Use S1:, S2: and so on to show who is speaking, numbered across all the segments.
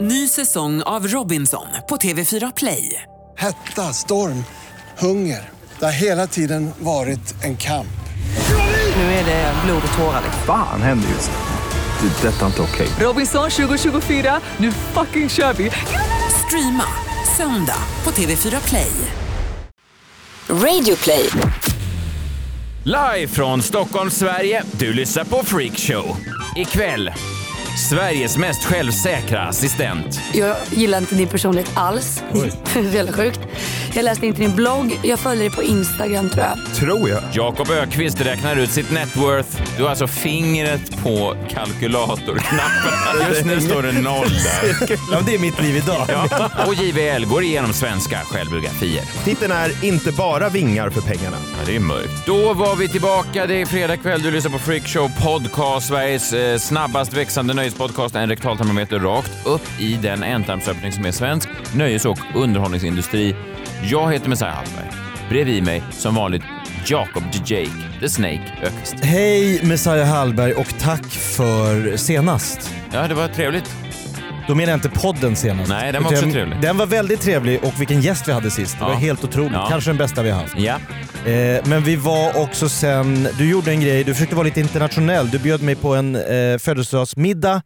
S1: Ny säsong av Robinson på TV4 Play.
S2: Hetta, storm, hunger. Det har hela tiden varit en kamp.
S1: Nu är det blod och tårar. liksom.
S3: Fan händer just nu. Det. är Detta är inte okej.
S1: Robinson 2024, nu fucking kör vi! Streama söndag på TV4 Play.
S4: Radio play.
S5: Live från Stockholm, Sverige. Du lyssnar på Freak Show. Ikväll, Sveriges mest självsäkra assistent.
S6: Jag gillar inte din personlighet alls. Jävla sjukt. Jag läste inte din blogg. Jag följer dig på Instagram tror jag.
S3: Tror jag.
S5: Jakob Ökvist räknar ut sitt net worth. Du har alltså fingret på kalkylatorknappen. Just nu står det noll där.
S7: Ja, det är mitt liv idag.
S5: Ja. Och JVL går igenom svenska självbiografier.
S7: Titeln är Inte bara vingar för pengarna.
S5: Ja, det är mörkt. Då var vi tillbaka. Det är fredag kväll. Du lyssnar på Freak Show Podcast, Sveriges eh, snabbast växande nöjespodcast. En rektaltermometer rakt upp i den ändtarmsöppning som är svensk nöjes och underhållningsindustri. Jag heter Messiah Hallberg. Bredvid mig, som vanligt, Jakob the Jake, The Snake Ökvist.
S8: Hej Messiah Hallberg och tack för senast.
S5: Ja, det var trevligt.
S8: Då menar jag inte podden senast.
S5: Nej, den var också
S8: Utan-
S5: trevlig.
S8: Den var väldigt trevlig och vilken gäst vi hade sist. Det
S5: Ja.
S8: var helt otroligt.
S5: Ja. Mm.
S8: Kanske den bästa vi har haft.
S5: Ja.
S8: Eh, men vi var också sen... Du gjorde en grej, du försökte vara lite internationell. Du bjöd mig på en eh, födelsedagsmiddag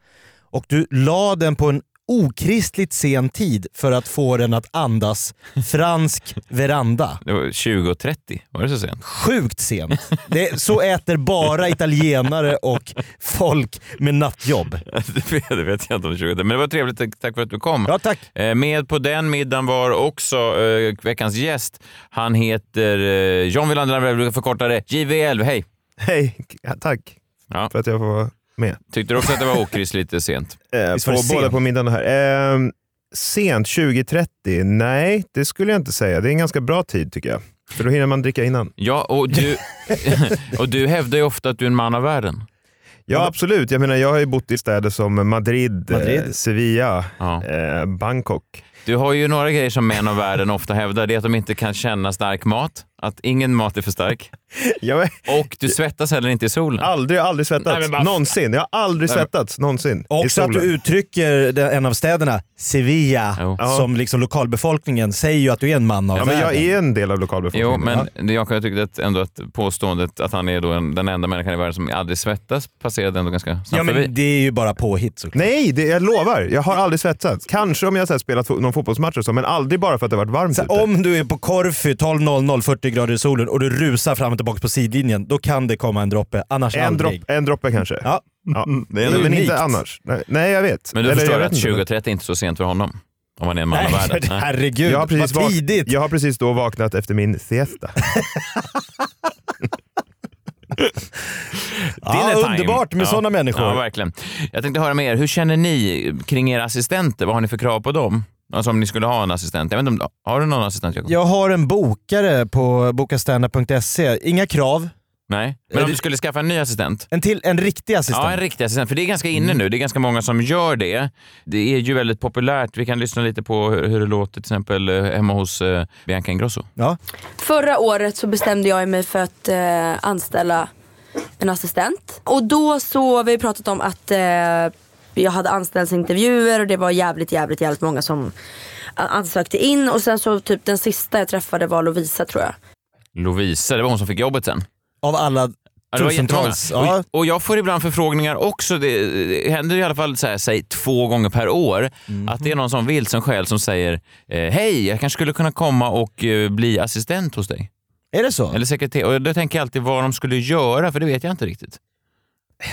S8: och du la den på en okristligt sen tid för att få den att andas fransk veranda.
S5: Det var 20.30. Var det så sent?
S8: Sjukt sent. Det, så äter bara italienare och folk med nattjobb.
S5: Det vet- det vet jag inte om 20. Men det var trevligt. Tack- Tack för att du kom.
S8: Ja tack.
S5: Eh, Med på den middagen var också eh, veckans gäst. Han heter eh, John Wilander, jag brukar förkorta det. JVL. Hej!
S7: Hej, ja, tack
S5: Ja.
S7: för att jag får vara med.
S5: Tyckte du också att det var okrist lite sent?
S7: Eh,
S8: Visst
S7: på,
S8: var det
S7: båda
S8: sent?
S7: på middagen här. Ehm, sent, 20.30? Nej, det skulle jag inte säga. Det är en ganska bra tid tycker jag. För då hinner man dricka innan.
S5: Ja, och du, och du hävdar ju ofta att du är en man av världen.
S7: Ja, absolut. Jag menar, jag har ju bott i städer som Madrid, Eh,
S8: Madrid.
S7: Sevilla,
S5: Ja.
S7: eh, Bangkok.
S5: Du har ju några grejer som män av världen ofta hävdar. Det är att de inte kan känna stark mat, att ingen mat är för stark
S7: Jag har
S5: och du svettas heller inte i solen.
S7: aldrig, aldrig
S5: Nej,
S7: svettats.
S5: men bara-
S7: Någonsin. Jag har aldrig
S5: Nej, men-
S7: svettats. Någonsin. I
S8: Också att du
S7: solen.
S8: uttrycker den- en av städerna, Sevilla,
S5: Jo.
S8: som liksom lokalbefolkningen säger ju att du är en man av
S7: Ja, men jag
S8: världen.
S7: är en del av lokalbefolkningen.
S5: Jo, men jag jag tyckte att ändå att påståendet att han är då en, den enda människan i världen som aldrig svettas passerade ändå ganska snabbt
S8: Ja,
S5: förbi.
S8: men det är ju bara påhitt såklart.
S7: Nej, det, jag lovar. Jag har aldrig svetsats. Kanske om jag så här, spelat fo- någon fotbollsmatch och så, men aldrig bara för att det har varit varmt
S8: Så
S7: ute.
S8: om du är på Korfu 12.00, 40 grader i solen och du rusar fram och tillbaka på sidlinjen, då kan det komma en droppe. Annars
S7: en, dropp,
S8: aldrig.
S7: en droppe kanske.
S8: Ja. Mm,
S7: Ja.
S8: är
S7: men
S8: unikt.
S7: inte annars. Nej, nej, jag vet.
S5: Men du
S7: Eller
S5: förstår
S7: jag
S5: att
S7: vet inte.
S5: 2030 är inte så sent för honom? Om han är en man av
S8: Nej,
S5: världen. Nej.
S8: herregud.
S7: Jag har, precis
S8: Vad
S7: vak-
S8: tidigt.
S7: jag har precis då vaknat efter min siesta.
S8: Ja,
S5: Dinner time.
S8: underbart med sådana människor.
S5: Ja, verkligen. Jag tänkte höra med er, hur känner ni kring era assistenter? Vad har ni för krav på dem? Alltså om ni skulle ha en assistent. Jag vet inte om, har du någon assistent Jakob?
S8: Jag har en bokare på bokastandup.se. Inga krav.
S5: Nej. Men om du skulle skaffa en ny assistent?
S8: En, till, en riktig assistent.
S5: Ja, en riktig assistent. För det är ganska inne nu. Det är ganska många som gör det. Det är ju väldigt populärt. Vi kan lyssna lite på hur, hur det låter till exempel eh, hemma hos eh, Bianca Ingrosso.
S8: Ja.
S6: Förra året så bestämde jag mig för att eh, anställa en assistent. Och då så, vi har pratat om att eh, jag hade anställningsintervjuer och det var jävligt jävligt jävligt många som a- ansökte in. Och sen så typ den sista jag träffade var Lovisa tror jag.
S5: Lovisa, det var hon som fick jobbet sen.
S8: Av alla
S5: Ja, det var
S8: tusentals.
S5: jättemånga.
S8: Ja.
S5: Och, och jag får ibland förfrågningar också. Det, det händer i alla fall så här, säg två gånger per år
S8: Mhm.
S5: att det är någon som vill som själv som säger eh, hej, jag kanske skulle kunna komma och eh, bli assistent hos dig.
S8: Är det så?
S5: Eller sekreterare. Och då tänker jag alltid vad de skulle göra för det vet jag inte riktigt.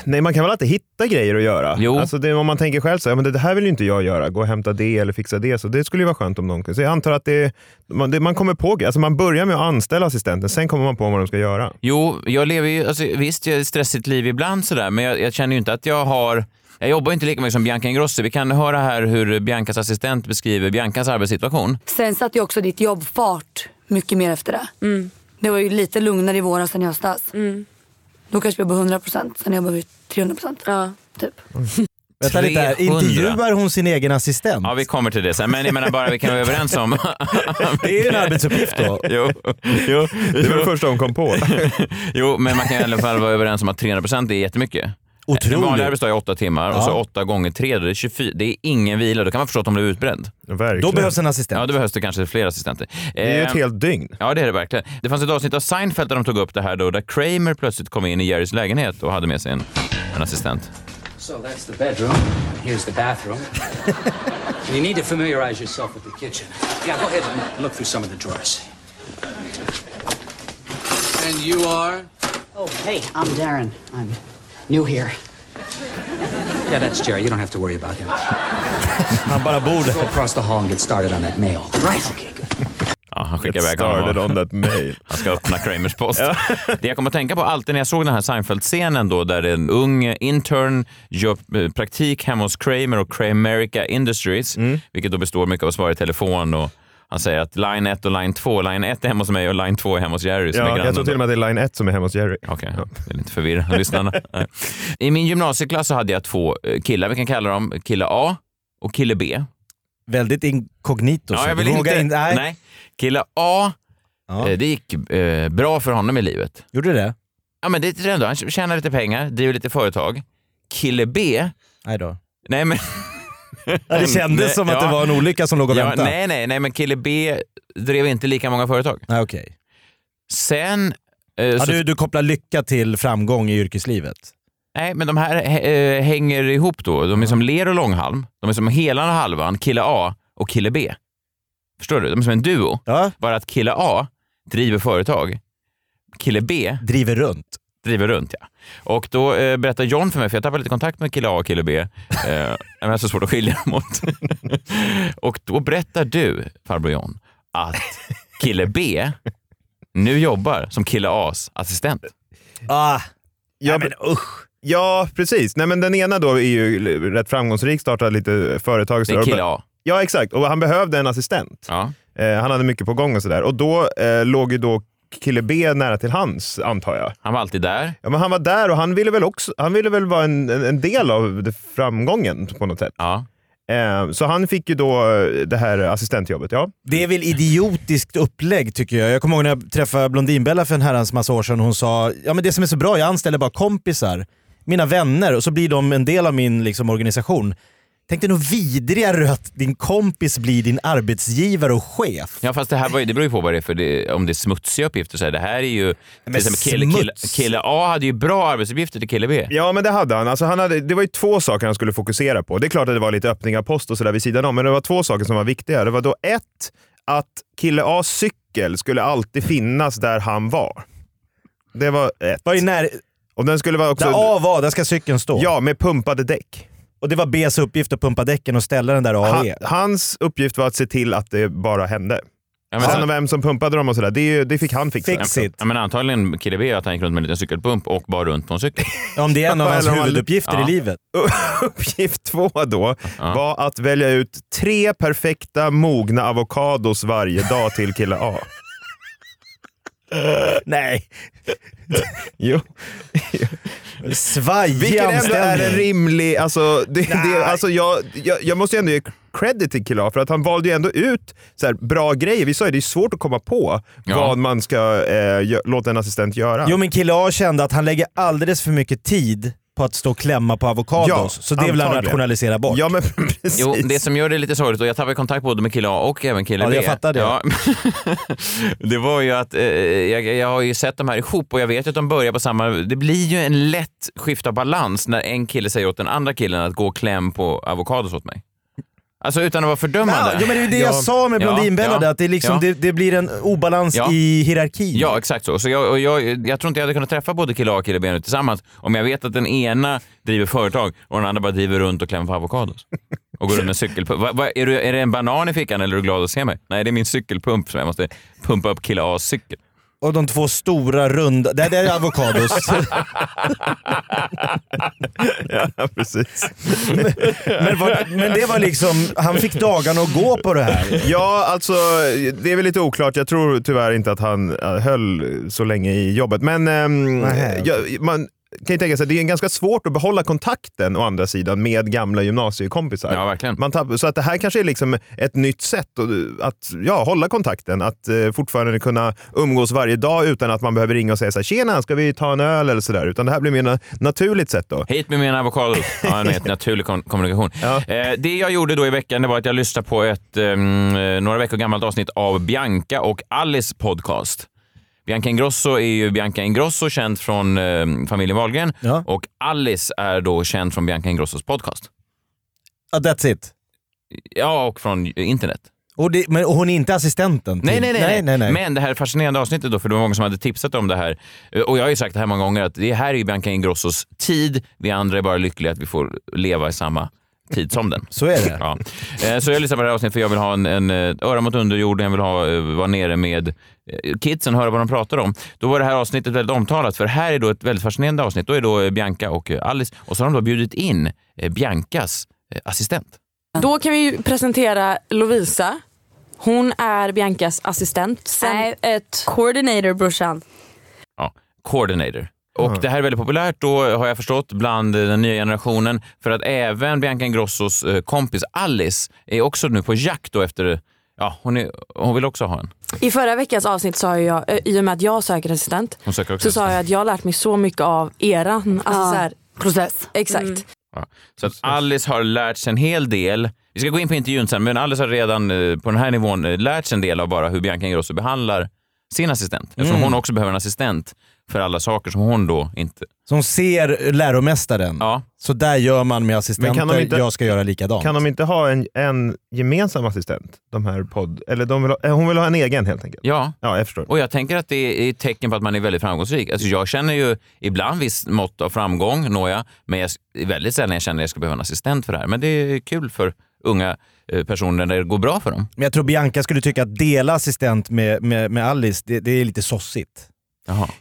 S7: Nej, man kan väl alltid hitta grejer att göra?
S5: Jo.
S7: Alltså det, om man tänker själv så här, ja, men det, det här vill ju inte jag göra. Gå och hämta det eller fixa det. Så det skulle ju vara skönt om någon kunde. Så jag antar att det, man, det, man kommer på alltså man börjar med att anställa assistenten, sen kommer man på vad de ska göra.
S5: Jo, jag lever ju, alltså, visst jag har ett stressigt liv ibland sådär, men jag, jag känner ju inte att jag har jag jobbar ju inte lika mycket som Bianca Ingrosso. Vi kan höra här hur Biancas assistent beskriver Biancas arbetssituation.
S9: Sen satte ju också ditt jobb fart mycket mer efter det.
S10: Mm.
S9: Det var ju lite lugnare i våras än i höstas. Då kanske vi var på 100% sen jag var vi 300%.
S6: Ja.
S9: Typ.
S8: Vänta lite här.
S5: 300.
S8: Intervjuar hon sin egen assistent?
S5: Ja, vi kommer till det sen, men jag menar bara vi kan vara överens om...
S8: Det är ju en arbetsuppgift då.
S5: jo, jo,
S7: Det var det
S5: jo,
S7: första hon kom på.
S5: jo, men man kan i alla fall vara överens om att 300 procent är jättemycket. En vanlig
S8: Otroligt.
S5: arbetsdag är åtta timmar och så
S8: Ja.
S5: åtta gånger tre, då är det 24. Det är ingen vila. Då kan man förstå att de blir utbränd.
S7: Verkligen.
S8: Då behövs en
S5: Ja,
S8: assistent.
S5: då behövs det kanske fler assistenter.
S7: det är ju ett
S5: Eh,
S7: helt dygn.
S5: Ja, det är det verkligen. Det fanns ett avsnitt av Seinfeld där de tog upp det här då, där Kramer plötsligt kom in i Jerrys lägenhet och hade med sig en, en assistent.
S11: So that's the bedroom. Here's the bathroom. and you need to familiarize yourself with the kitchen. Yeah, go ahead and look through some of the drawers. And you are?
S12: Oh, hey, I'm Darren. I'm new here.
S11: Yeah, that's Jerry. You don't have to worry about him.
S8: Han bara bor där.
S11: Go across the hall and get started on that mail. Right. Okay, good.
S5: Ja, han skickade
S7: Get
S5: iväg honom.
S7: started
S5: och-
S7: on that mail.
S5: Han ska öppna Kramers post. Det jag kommer att tänka på alltid när jag såg den här Seinfeld-scenen då där en ung intern gör eh, praktik hemma hos Kramer och Kramerica Industries,
S7: Mm.
S5: vilket då består mycket av att svara i telefon och han säger att line 1 och line 2, line 1 är hemma hos mig och line 2 är hemma hos Jerry som är
S7: Ja,
S5: grannen.
S7: jag tror till och med att det är line 1 som är hemma hos Jerry.
S5: Okej, det är lite förvirrande lyssnarna. Nej. I min gymnasieklass så hade jag två eh, killar, vi kan kalla dem kille A och kille B.
S8: Väldigt inkognito. så du vågar in- nej.
S5: nej. Kille A,
S8: Ja.
S5: eh, det gick eh, bra för honom i livet.
S8: Gjorde du det?
S5: Ja, men det är ändå. Han tjänar lite pengar, driver lite företag. Kille B,
S8: Nej då.
S5: nej men...
S8: Ja, det kändes
S5: Mm, Nej,
S8: som att
S5: ja.
S8: det var en olycka som låg och
S5: Ja,
S8: väntade. nej.
S5: nej, nej, nej, men kille B drev inte lika många företag.
S8: okej.
S5: Sen... eh,
S8: Ja,
S5: så,
S8: du, du kopplar lycka till framgång i yrkeslivet.
S5: Nej, men de här eh, hänger ihop då. De är som ler och långhalm. De är som hela halvan, kille A och kille B. Förstår du? De är som en duo.
S8: Ja.
S5: Bara att kille A driver företag. Kille B
S8: Driver runt.
S5: driver runt. Ja. Och då eh, berättar John för mig, för jag tappade lite kontakt med kille A och kille B. Eh, men jag har så svårt att skilja dem åt. och då berättar du, farbror John, att kille B nu jobbar som kille A's assistent.
S8: Ah,
S7: Ja, men usch. Ja, precis. Nej, men den ena då är ju rätt framgångsrik, startade lite företag. och
S5: Det är
S7: sådär.
S5: kille A.
S7: Ja, exakt. Och han behövde en assistent.
S5: Ja.
S7: Eh, han hade mycket på gång och sådär. Och då eh, låg ju då kille B nära till hans, antar jag.
S5: Han var alltid där.
S7: Ja, men han var där och han ville väl, också, han ville väl vara en, en, en del av det- framgången på något sätt.
S5: Ja.
S7: Eh, så han fick ju då eh, det här assistentjobbet. Ja.
S8: Det är väl idiotiskt upplägg tycker jag. Jag kommer ihåg när jag träffade Blondinbella för en herrans massa år sedan. Hon sa ja, men det som är så bra, jag anställer bara kompisar, mina vänner och så blir de en del av min liksom, organisation. Tänk dig nog vidrigare att din kompis blir din arbetsgivare och chef.
S5: ja, fast det här var, ju- det beror ju på vad det är för det, om det är smutsiga uppgifter. Så här, det här är ju... Till exempel kille, kille,
S8: smuts.
S5: kille A hade ju bra arbetsuppgifter till kille B.
S7: Ja, men det hade han. Alltså, han hade, det var ju två saker han skulle fokusera på. Det är klart att det var lite öppningar post och sådär vid sidan om, men det var två saker som var viktiga. Det var då ett, att kille A's cykel skulle alltid finnas där han var. Det var ett.
S8: Var i när,
S7: Och den skulle vara också...
S8: där A var, där ska cykeln stå.
S7: Ja, med pumpade däck.
S8: Och det var Bs uppgift att pumpa däcken och ställa den där A E.
S7: Han,
S8: är.
S7: hans uppgift var att se till att det bara hände.
S5: Ja, men,
S7: Sen och vem som pumpade dem och sådär, det, är ju- det fick han fixa.
S8: Fix it.
S5: ja, men antagligen kille B att han gick runt med en liten cykelpump och bar runt på en cykel.
S8: Om det är en av hans
S7: Eller om han-
S8: huvuduppgifter
S5: Ja.
S8: i livet.
S7: Uppgift två då var att välja ut tre perfekta mogna avokados varje dag till kille A.
S8: Nej.
S7: Jo.
S8: Svajig
S7: Vilket ändå är en
S8: anställning.
S7: rimlig... Alltså, det, det, alltså jag, jag, jag måste ju ändå ge credit till Killa för att han valde ju ändå ut så här, bra grejer. Vi sa ju det är svårt att komma på
S5: Ja.
S7: vad man ska eh, gö- låta en assistent göra.
S8: Jo men kille A kände att han lägger alldeles för mycket tid på att stå och klämma på avokados.
S7: Ja,
S8: så det vill han
S7: antagligen.
S8: rationalisera bort.
S7: Ja, men precis.
S5: Jo, det som gör det lite sorgligt, och jag tappade kontakt både med kille A och även kille
S8: Ja,
S5: B.
S8: jag fattar det.
S5: det var ju att eh, jag, jag har ju sett de här ihop och jag vet ju att de börjar på samma... Det blir ju en lätt skift av balans när en kille säger åt den andra killen att gå och kläm på avokados åt mig. Alltså utan att vara fördömande.
S8: Ja, jo, men det är ju det jag
S7: Ja.
S8: sa med
S5: Ja,
S8: Blondinbella,
S5: ja,
S8: där, att det, är liksom,
S5: ja.
S8: det, det blir en obalans
S5: Ja.
S8: i hierarkin.
S5: Ja, exakt så. så jag, och jag, jag tror inte jag hade kunnat träffa både kille A och kille B nu tillsammans om jag vet att den ena driver företag och den andra bara driver runt och klämmer på avokados. Och går runt med en cykelpump. Va, va, är, du, är det en banan i fickan eller är du glad att se mig? Nej, det är min cykelpump som jag måste pumpa upp kille A's cykel.
S8: Och de två stora runda... Det, det är avokados.
S7: Ja, precis.
S8: men, var, men det var liksom... Han fick dagarna att gå på det här.
S7: Ja, alltså det är väl lite oklart. Jag tror tyvärr inte att han eh, höll så länge i jobbet. Men ehm,
S8: Nej, okej.
S7: jag, man, kan jag tänka så här, det är ganska svårt att behålla kontakten å andra sidan med gamla gymnasiekompisar.
S5: Ja, verkligen.
S7: Man tapp, så att det här kanske är liksom ett nytt sätt att, att ja, hålla kontakten. Att eh, fortfarande kunna umgås varje dag utan att man behöver ringa och säga så här, tjena, ska vi ta en öl eller sådär. Utan det här blir mer na- naturligt sätt då.
S5: Hit med mina avokados. Ja, en helt naturlig kom- kommunikation. Eh, det jag gjorde då i veckan det var att jag lyssnade på ett ehm, några veckor gammalt avsnitt av Bianca och Alice podcast. Bianca Ingrosso är ju Bianca Ingrosso, känd från ehm, familjen Wahlgren. Och Alice är då känd från Bianca Ingrossos podcast.
S8: Ja, that's it.
S5: Ja, och från internet.
S8: Och det, men hon är inte assistenten? till-
S5: Nej nej nej,
S8: nej, nej.
S5: Men det här fascinerande avsnittet då, för det var många som hade tipsat om det här. Eh, Och jag har ju sagt det här många gånger att det här är ju Bianca Ingrossos tid. Vi andra är bara lyckliga att vi får leva i samma tid som den.
S8: Så är det.
S5: Ja. Eh, Så jag lyssnar på det här avsnittet för jag vill ha en, en eh, öra mot underjorden, jag vill ha, eh, vara nere med eh, kidsen, höra vad de pratar om. Då var det här avsnittet väldigt omtalat för här är då ett väldigt fascinerande avsnitt. Då är då eh, Bianca och eh, Alice och så har de då bjudit in eh, Biancas eh, assistent.
S10: Då kan vi ju presentera Lovisa. Hon är Biancas assistent. Sen ett...
S6: Coordinator brorsan.
S5: Ja, coordinator. Och Det här är väldigt populärt då, har jag förstått, bland eh, den nya generationen. För att även Bianca Ingrossos eh, kompis Alice är också nu på jakt då efter... Ja, hon, är, hon vill också ha en.
S10: I förra veckans avsnitt sa ju jag, eh, i och med att jag söker assistent,
S5: Hon söker också
S10: så sa jag att jag har lärt mig så mycket av eran alltså så här,
S9: process. Mm.
S10: Exakt.
S5: Ja. Så att Alice har lärt sig en hel del. Vi ska gå in på intervjun sen, men Alice har redan eh, på den här nivån eh, lärt sig en del av bara hur Bianca Ingrosso behandlar sin assistent. Eftersom
S8: Mm.
S5: hon också behöver en assistent för alla saker som hon då inte...
S8: Som ser läromästaren.
S5: Ja.
S8: Så där gör man med assistenter,
S7: Men kan de inte-
S8: jag ska göra likadant.
S7: Kan de inte ha en, en gemensam assistent? De här podd... Eller de vill ha, eh, hon vill ha en egen helt enkelt.
S5: Ja.
S7: Ja, jag förstår.
S5: Och jag tänker att det är ett tecken på att man är väldigt framgångsrik. Alltså jag känner ju ibland viss mått av framgång, nåja, men jag, det är väldigt sällan jag känner att jag ska behöva en assistent för det här. Men det är kul för unga eh, personer när det går bra för dem.
S8: Men jag tror Bianca skulle tycka att dela assistent med, med, med Alice, det, det är lite sossigt.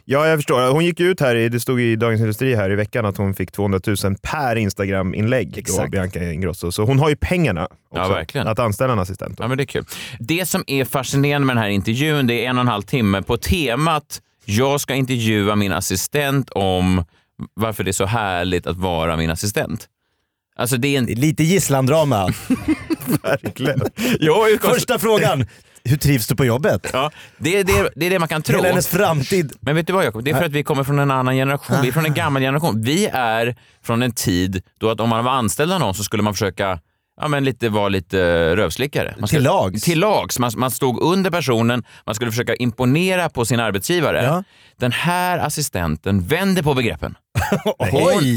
S7: Ja, jag förstår. Hon gick ut här, i, det stod i Dagens Industri här i veckan att hon fick 200 000 per Instagram-inlägg, då,
S8: Exakt.
S7: Bianca Ingrosso. Så hon har ju pengarna också,
S5: Ja, verkligen.
S7: att anställa en assistent.
S5: Ja, men det är kul. Det som är fascinerande med den här intervjun, det är en och en halv timme på temat jag ska intervjua min assistent om varför det är så härligt att vara min assistent. Alltså det är en...
S8: Det är lite gisslandrama.
S7: Verkligen.
S5: Jag är ju-
S8: Första frågan, hur trivs du på jobbet?
S5: Ja, det, är det, det är det man kan tro.
S8: Hela hennes framtid.
S5: Men vet du vad Jakob? Det är för att vi kommer från en annan generation. Vi är från en gammal generation. Vi är från en tid då att om man var anställd av någon så skulle man försöka Ja, men lite, vara lite eh, rövslickare. Man
S8: Till lags.
S5: Till lags. Man, man stod under personen, man skulle försöka imponera på sin arbetsgivare.
S8: Ja.
S5: Den här assistenten vänder på begreppen.
S8: Oj!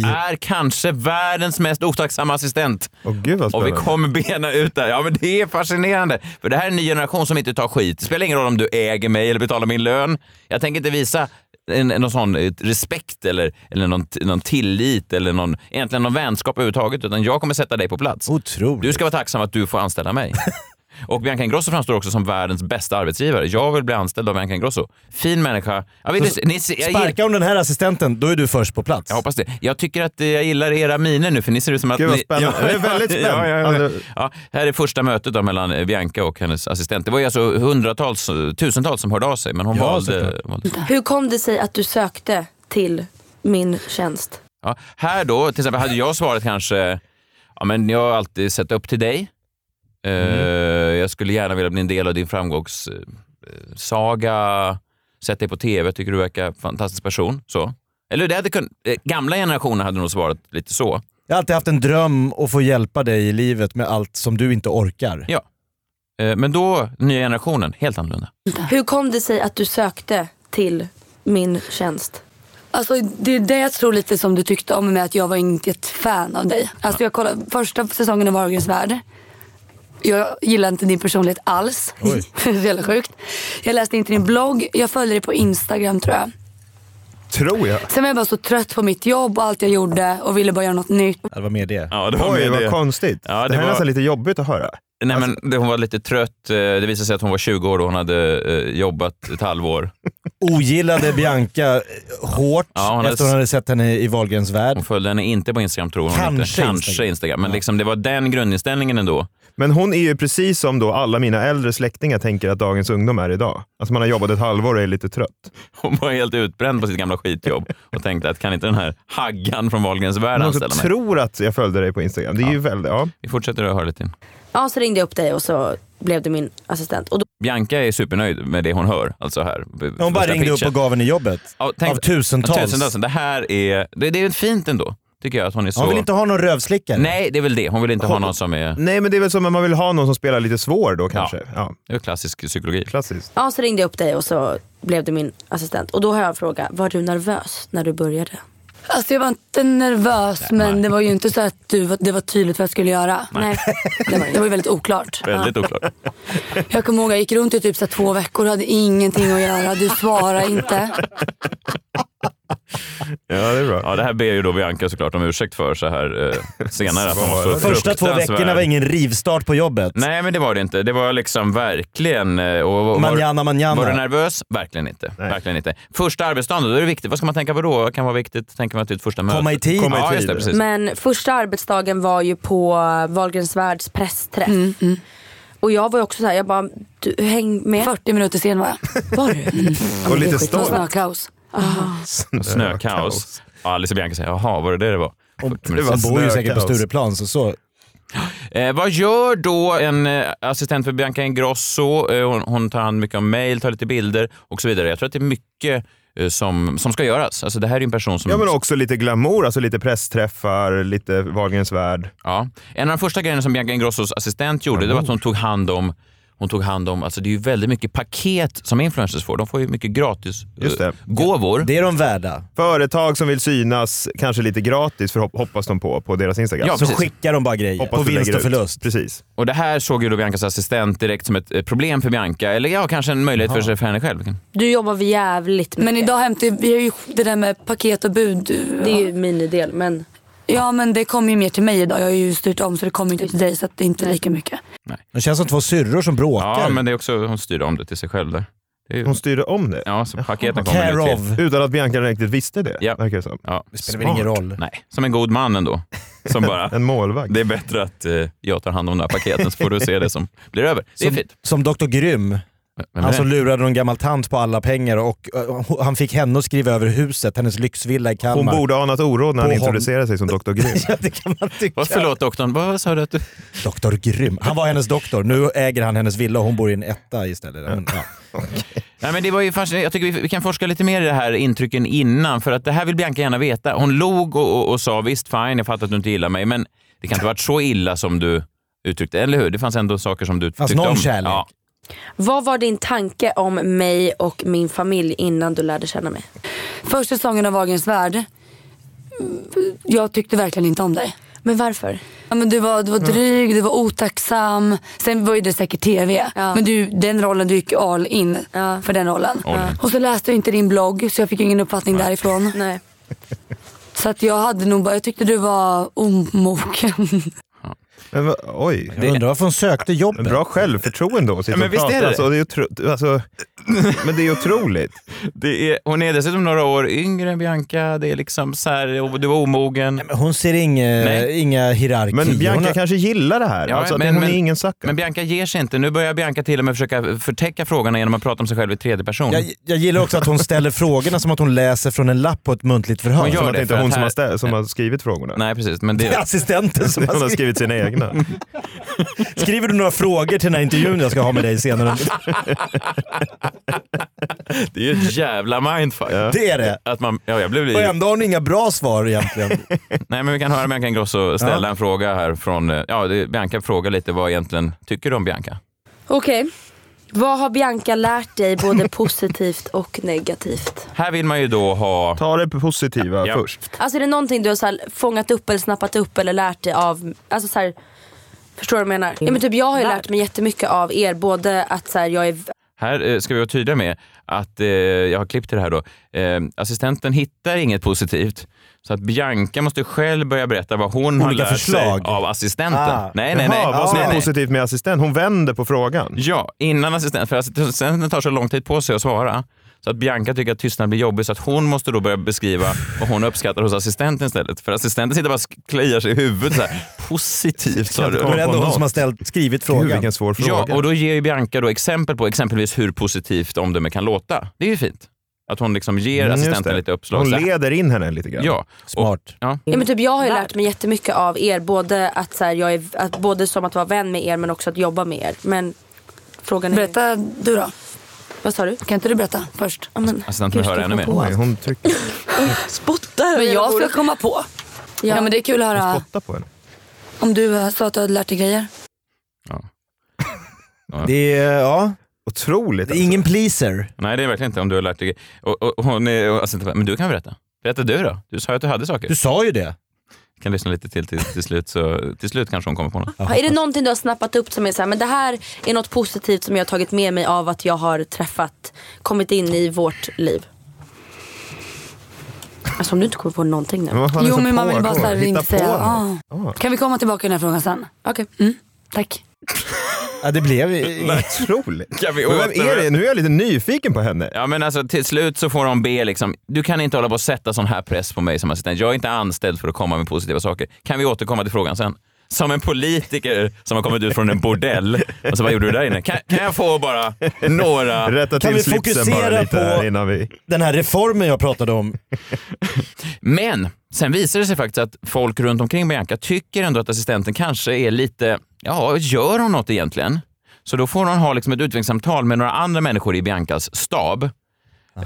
S5: Hon är kanske världens mest otacksamma assistent.
S7: Åh, gud vad
S5: Och vi
S7: spännande.
S5: kommer bena ut det här. Ja, men det är fascinerande. För det här är en ny generation som inte tar skit. Det spelar ingen roll om du äger mig eller betalar min lön. Jag tänker inte visa en, en, någon sån eh, respekt eller, eller någon, t- någon tillit eller någon, egentligen någon vänskap överhuvudtaget, utan jag kommer sätta dig på plats.
S7: Oh.
S8: Otroligt.
S5: Du ska vara tacksam att du får anställa mig. Och Bianca Ingrosso framstår också som världens bästa arbetsgivare. Jag vill bli anställd av Bianca Ingrosso. Fin människa. Jag, vill,
S8: Så
S5: ni, ser- jag, gill-
S8: Sparkar hon den här assistenten, då är du först på plats.
S5: jag hoppas det. Jag tycker att eh, jag gillar era miner nu för ni ser ut som att
S7: Gud, vad
S5: ni...
S7: spännande. Jag är väldigt spänd.
S5: Ja, ja, ja.
S7: Alltså-
S5: Ja, här är första mötet då mellan eh, Bianca och hennes assistent. Det var ju alltså hundratals, eh, tusentals som hörde av sig men hon valde... valde.
S6: Hur kom det sig att du sökte till min tjänst?
S5: Ja, här då, till exempel hade jag svarat kanske, ja men jag har alltid sett upp till dig. Eh, Jag skulle gärna vilja bli en del av din framgångssaga. Sett dig på TV, tycker du verkar en fantastisk person. Så. Eller det hade kun... eh, Gamla generationer hade nog svarat lite så.
S8: Jag har alltid haft en dröm att få hjälpa dig i livet med allt som du inte orkar.
S5: Ja. Eh, Men då, nya generationen, helt annorlunda.
S6: Hur kom det sig att du sökte till min tjänst?
S9: Alltså, det är det jag tror lite som du tyckte om mig med att jag var inte ett fan av dig. Alltså, jag kollade första säsongen av Wahlgrens värld. Jag gillar inte din personlighet alls.
S8: Oj.
S9: det är så jävla sjukt. Jag läste inte din blogg. Jag följer dig på Instagram tror jag.
S7: Tror jag.
S9: Sen var jag bara så trött på mitt jobb och allt jag gjorde och ville bara göra något nytt.
S8: Ja, Det var mer det.
S5: Ja, det
S7: Oj, vad konstigt.
S5: Ja, det
S7: det, här
S5: var-
S7: är nästan lite jobbigt att höra.
S5: Nej, men det- hon var lite trött. Eh, Det visade sig att hon var 20 år och hon hade eh, jobbat ett halvår.
S8: ogillade Bianca eh, hårt
S5: Ja, hon hade-
S8: efter hon hade sett henne i Wahlgrens värld.
S5: Hon följde henne inte på Instagram tror hon
S8: Kanske
S5: inte. Kanske Instagram.
S8: Instagram.
S5: Men liksom, det var den grundinställningen ändå.
S7: Men hon är ju precis som då alla mina äldre släktingar tänker att dagens ungdom är idag. Alltså man har jobbat ett halvår och är lite trött.
S5: Hon var helt utbränd på sitt gamla skitjobb och tänkte att kan inte den här haggan från Wahlgrens värld
S7: Någon
S5: anställa
S7: som
S5: mig?
S7: tror att jag följde dig på Instagram. Det är ju väldigt, ja.
S5: Vi fortsätter att höra lite.
S6: Ja, så ringde jag upp dig och så blev du min assistent. Och då,
S5: Bianca är supernöjd med det hon hör. Alltså här.
S8: Hon bara ringde upp och gav henne jobbet. av tusentals.
S5: tusentals. Det här är, det, det är fint ändå, tycker jag. Att hon är så...
S8: Hon vill inte ha någon rövslickare.
S5: Nej, det är väl det. Hon vill inte ha
S7: Hon-
S5: någon som är...
S7: Nej men det är väl som att man vill ha någon som spelar lite svår då kanske. Ja.
S5: Det är klassisk psykologi.
S7: Klassiskt.
S6: ja, så ringde jag upp dig och så blev du min assistent. Och då har jag en fråga. Var du nervös när du började?
S9: Alltså jag var inte nervös men det var ju inte så att du, var- det var tydligt vad jag skulle göra.
S5: Nej.
S9: Det, var, det var ju väldigt oklart.
S5: Väldigt oklart.
S9: Jag kommer ihåg jag gick runt i typ så här två veckor och hade ingenting att göra. Du svarade inte.
S7: Ja, det är bra.
S5: Ja, det här ber ju då Bianca såklart om ursäkt för så här eh, senare. att hon var så
S8: Första två
S5: fruktansvärd.
S8: veckorna var ingen rivstart på jobbet.
S5: Nej, men det var det inte. Det var liksom verkligen... eh, Och, och,
S8: Manjana,
S5: var,
S8: manjana.
S5: Var du nervös? Verkligen inte. Verkligen inte. Första arbetsdagen, då är det viktigt. Vad ska man tänka på då? Vad kan vara viktigt? Tänker man till ett första möte?
S8: Komma i tid. Komma i
S5: ja,
S8: tid.
S5: Just det, precis.
S6: Men första arbetsdagen var ju på Wahlgrens världs pressträff. Och jag var ju också så här, jag bara, du, häng med.
S9: 40 minuter sen var Mm,
S6: jag. Var du?
S7: Och lite
S9: Det var
S7: stolt.
S9: snökaos.
S5: Snökaos. Ja, Alice och Bianca säger, jaha, var det det det var?
S8: Det var Sen bor ju säkert på Stureplan så, så.
S5: Eh, vad gör då en eh, assistent för Bianca Ingrosso? Eh, hon, hon tar hand mycket om mejl, tar lite bilder och så vidare. Jag tror att det är mycket eh, som, som ska göras. Alltså, det här är ju en person som...
S7: Ja men också lite glamour, alltså lite pressträffar, lite Wahlgrens värld.
S5: Ja. En av de första grejerna som Bianca Ingrossos assistent gjorde det var att hon tog hand om hon tog hand om, alltså det är ju väldigt mycket paket som influencers får. De får ju mycket gratis eh,
S7: Just det.
S5: gåvor.
S8: Det är de värda.
S7: Företag som vill synas, kanske lite gratis för hopp- hoppas de på, på deras Instagram.
S5: Ja, Så precis. skickar
S8: de bara grejer.
S5: På vinst och
S8: förlust.
S7: Precis.
S5: Och det här såg ju då Biancas assistent direkt som ett eh, problem för Bianca, eller ja, kanske en möjlighet för, sig- för henne själv.
S6: Du jobbar vi jävligt mycket.
S9: Men idag hämtar vi har ju det där med paket och bud.
S6: Det är ju min del men.
S9: Ja men det kommer ju mer till mig idag. Jag har ju styrt om så det kommer inte till dig så att det är inte lika mycket.
S8: Det känns som två syrror som bråkar.
S5: Ja, men det är också, hon styrde om det till sig själv där. Det är ju-
S7: Hon styrde om det?
S5: Ja, så paketen kommer nu till.
S7: Utan att Bianca riktigt visste det,
S5: Ja.
S7: verkar det som.
S5: Ja. Det
S8: spelar väl ingen roll.
S5: Nej, som en god man ändå. Som bara,
S7: en målvakt.
S5: Det är bättre att eh, jag tar hand om de här paketen så får du se det som blir över. Det är
S8: Som, Alltså,
S5: fint.
S8: som Dr Grym.
S5: är
S8: Han som
S5: det?
S8: lurade någon gammal tant på alla pengar och eh, han fick henne att skriva över huset, hennes lyxvilla i Kalmar.
S7: Hon borde ha anat oråd när han
S8: På hon-
S7: introducerade sig som Dr. Grym.
S5: Vad, förlåt doktorn, vad sa du att du...
S8: Dr Grym. Han var hennes doktor. Nu äger han hennes villa och hon bor i en etta istället. Men, ja.
S5: Nej, men det var ju fascinerande. Jag tycker vi, vi kan forska lite mer i det här intrycken innan, för att det här vill Bianca gärna veta. Hon log och, och, och sa visst, fine, jag fattar att du inte gillar mig, men det kan inte ha varit så illa som du uttryckte, eller hur? Det fanns ändå saker som du
S8: fanns
S5: tyckte
S8: någon
S5: om.
S8: kärlek.
S5: Ja.
S6: Vad var din tanke om mig och min familj innan du lärde känna mig?
S9: Första säsongen av Wahlgrens värld. mm, Jag tyckte verkligen inte om dig.
S6: Men varför?
S9: Ja, men du, var, du var dryg, du var otacksam. Sen var ju det säkert TV. Men du, den rollen, du gick all in för den rollen.
S6: All in.
S9: Och så läste jag inte din blogg så jag fick ingen uppfattning därifrån.
S6: Nej.
S9: Så att jag hade nog bara, jag tyckte du var omogen.
S7: Men, va- oj.
S8: Jag undrar varför hon sökte jobbet.
S7: Bra självförtroende att sitta
S5: Ja, men
S7: och
S5: visst är
S7: prata.
S5: det.
S7: Alltså, det är otro... alltså, men det är otroligt.
S5: Det är, hon är dessutom några år yngre än Bianca, det är liksom så här, och du var omogen.
S8: Hon ser inga,
S5: Nej.
S8: inga hierarkier.
S7: Men
S8: hon
S7: Bianca
S8: har-
S7: kanske gillar det här.
S5: Ja,
S7: alltså, att
S5: men-
S7: hon
S5: men-
S7: är ingen sucker.
S5: Men Bianca ger sig inte. Nu börjar Bianca till och med försöka förtäcka frågorna genom att prata om sig själv i tredje person.
S8: jag, jag gillar också att hon ställer frågorna som att hon läser från en lapp på ett muntligt förhör.
S5: Hon gör
S8: Som
S7: Som att
S8: att
S5: det
S7: det inte
S5: för
S7: är hon
S5: att
S7: som
S5: här-
S7: har, stä- som har skrivit frågorna.
S5: Nej, precis. Men det,
S8: Det är assistenten som
S7: Hon
S8: har
S7: har
S8: skrivit.
S7: skrivit sina egna.
S8: Skriver du några frågor till den här intervjun jag ska ha med dig senare?
S5: det är ju ett jävla mindfuck.
S8: Det är det.
S5: Att man, ja, jag blev
S8: Och
S5: lite...
S8: ändå har hon inga bra svar egentligen.
S5: Nej, men vi kan höra Bianca Ingrosso ställa
S8: Ja.
S5: en fråga här från... eh, Ja, det, Bianca frågar lite vad egentligen tycker du om Bianca?
S6: Okej. Vad har Bianca lärt dig både positivt och negativt?
S5: Här vill man ju då ha...
S7: Ta det positiva
S5: Ja.
S7: först.
S6: Alltså är det någonting du har så här fångat upp eller snappat upp eller lärt dig av? Alltså så här, förstår du vad jag menar? Ja, men typ jag har
S9: Mm.
S6: ju lärt mig jättemycket av er. Både att så här, jag är
S5: Här eh, ska vi vara tydliga med att, eh, jag har klippt till det här då, eh, assistenten hittar inget positivt. Så att Bianca måste själv börja berätta vad hon har
S8: Olika
S5: lärt
S8: förslag.
S5: sig av assistenten.
S8: Ah.
S5: Nej, nej, nej.
S7: Jaha, vad som
S5: nej,
S7: är
S5: nej.
S7: positivt med assistent? Hon vänder på frågan.
S5: Ja, innan assistenten, för assistenten tar så lång tid på sig att svara. Så att Bianca tycker att tystnad blir jobbig så att hon måste då börja beskriva vad hon uppskattar hos assistenten istället. För assistenten sitter bara och kliar sig i huvudet så här. Positivt sa du.
S8: Det var ändå hon som har ställt, skrivit frågan.
S7: vilken svår
S5: Ja, och då ger ju Bianca då exempel på exempelvis hur positivt omdöme kan låta. Det är ju fint. Att hon liksom ger
S7: Mm, just
S5: assistenten
S7: det.
S5: lite uppslag.
S7: Hon
S5: Så här.
S7: leder in henne lite grann.
S5: Ja.
S8: Smart.
S5: ja.
S6: Ja, men typ jag
S9: Mm.
S6: har ju lärt mig jättemycket av er. Både, att så här, jag är, att, både som att vara vän med er men också att jobba med er. Men frågan är...
S9: Berätta du då.
S6: Vad sa du?
S9: Kan inte du berätta först?
S6: Ja, men,
S5: Assistenten vill
S6: Gud,
S5: höra
S6: jag
S5: ännu mer.
S6: kom på allt.
S7: Hon trycker
S6: Spottar
S9: Men jag ska komma på. Ja. men det är kul att höra
S7: spotta på henne.
S9: om du eh, sa att du hade lärt dig grejer.
S8: Det är, ja,
S7: Otroligt.
S8: det är ingen pleaser.
S5: Nej, det är verkligen inte om du har lärt dig. Och, och, och hon är, och assistenten bara, men du kan berätta. Berätta du då. Du sa ju att du hade saker.
S8: Du sa ju det.
S5: Vi kan lyssna lite till till, till slut så till slut kanske hon kommer på något.
S6: Är det någonting du har snappat upp som är så här, men det här är något positivt som jag har tagit med mig av att jag har träffat, kommit in i vårt liv? Alltså om du inte kommer på någonting nu.
S7: Men vad fan är det
S9: Jo
S7: som
S9: men man vill bara
S7: pågår?
S9: såhär
S7: Hitta
S9: inte
S7: på
S9: säga.
S7: något.
S9: Ah. Kan vi komma tillbaka till den här frågan sen?
S6: Okej.
S9: Mm, tack.
S8: Ja, det blev...
S7: Otroligt.
S5: Kan vi
S7: Men vem
S5: återvända?
S7: är det? Nu är jag lite nyfiken på henne.
S5: Ja, men alltså, till slut så får hon be liksom, du kan inte hålla på och sätta sån här press på mig som assistent. Jag är inte anställd för att komma med positiva saker. Kan vi återkomma till frågan sen? Som en politiker som har kommit ut från en bordell och så vad gjorde du där inne? Kan, kan jag få bara några...
S7: Rätta
S8: Kan
S7: till
S8: vi
S7: slipsen
S8: fokusera
S7: bara lite
S8: på-
S7: här innan vi...
S8: Den här reformen jag pratade om.
S5: Men sen visar det sig faktiskt att folk runt omkring Bianca tycker ändå att assistenten kanske är lite, ja, gör hon något egentligen? Så då får hon ha liksom ett utvecklingssamtal med några andra människor i Biancas stab.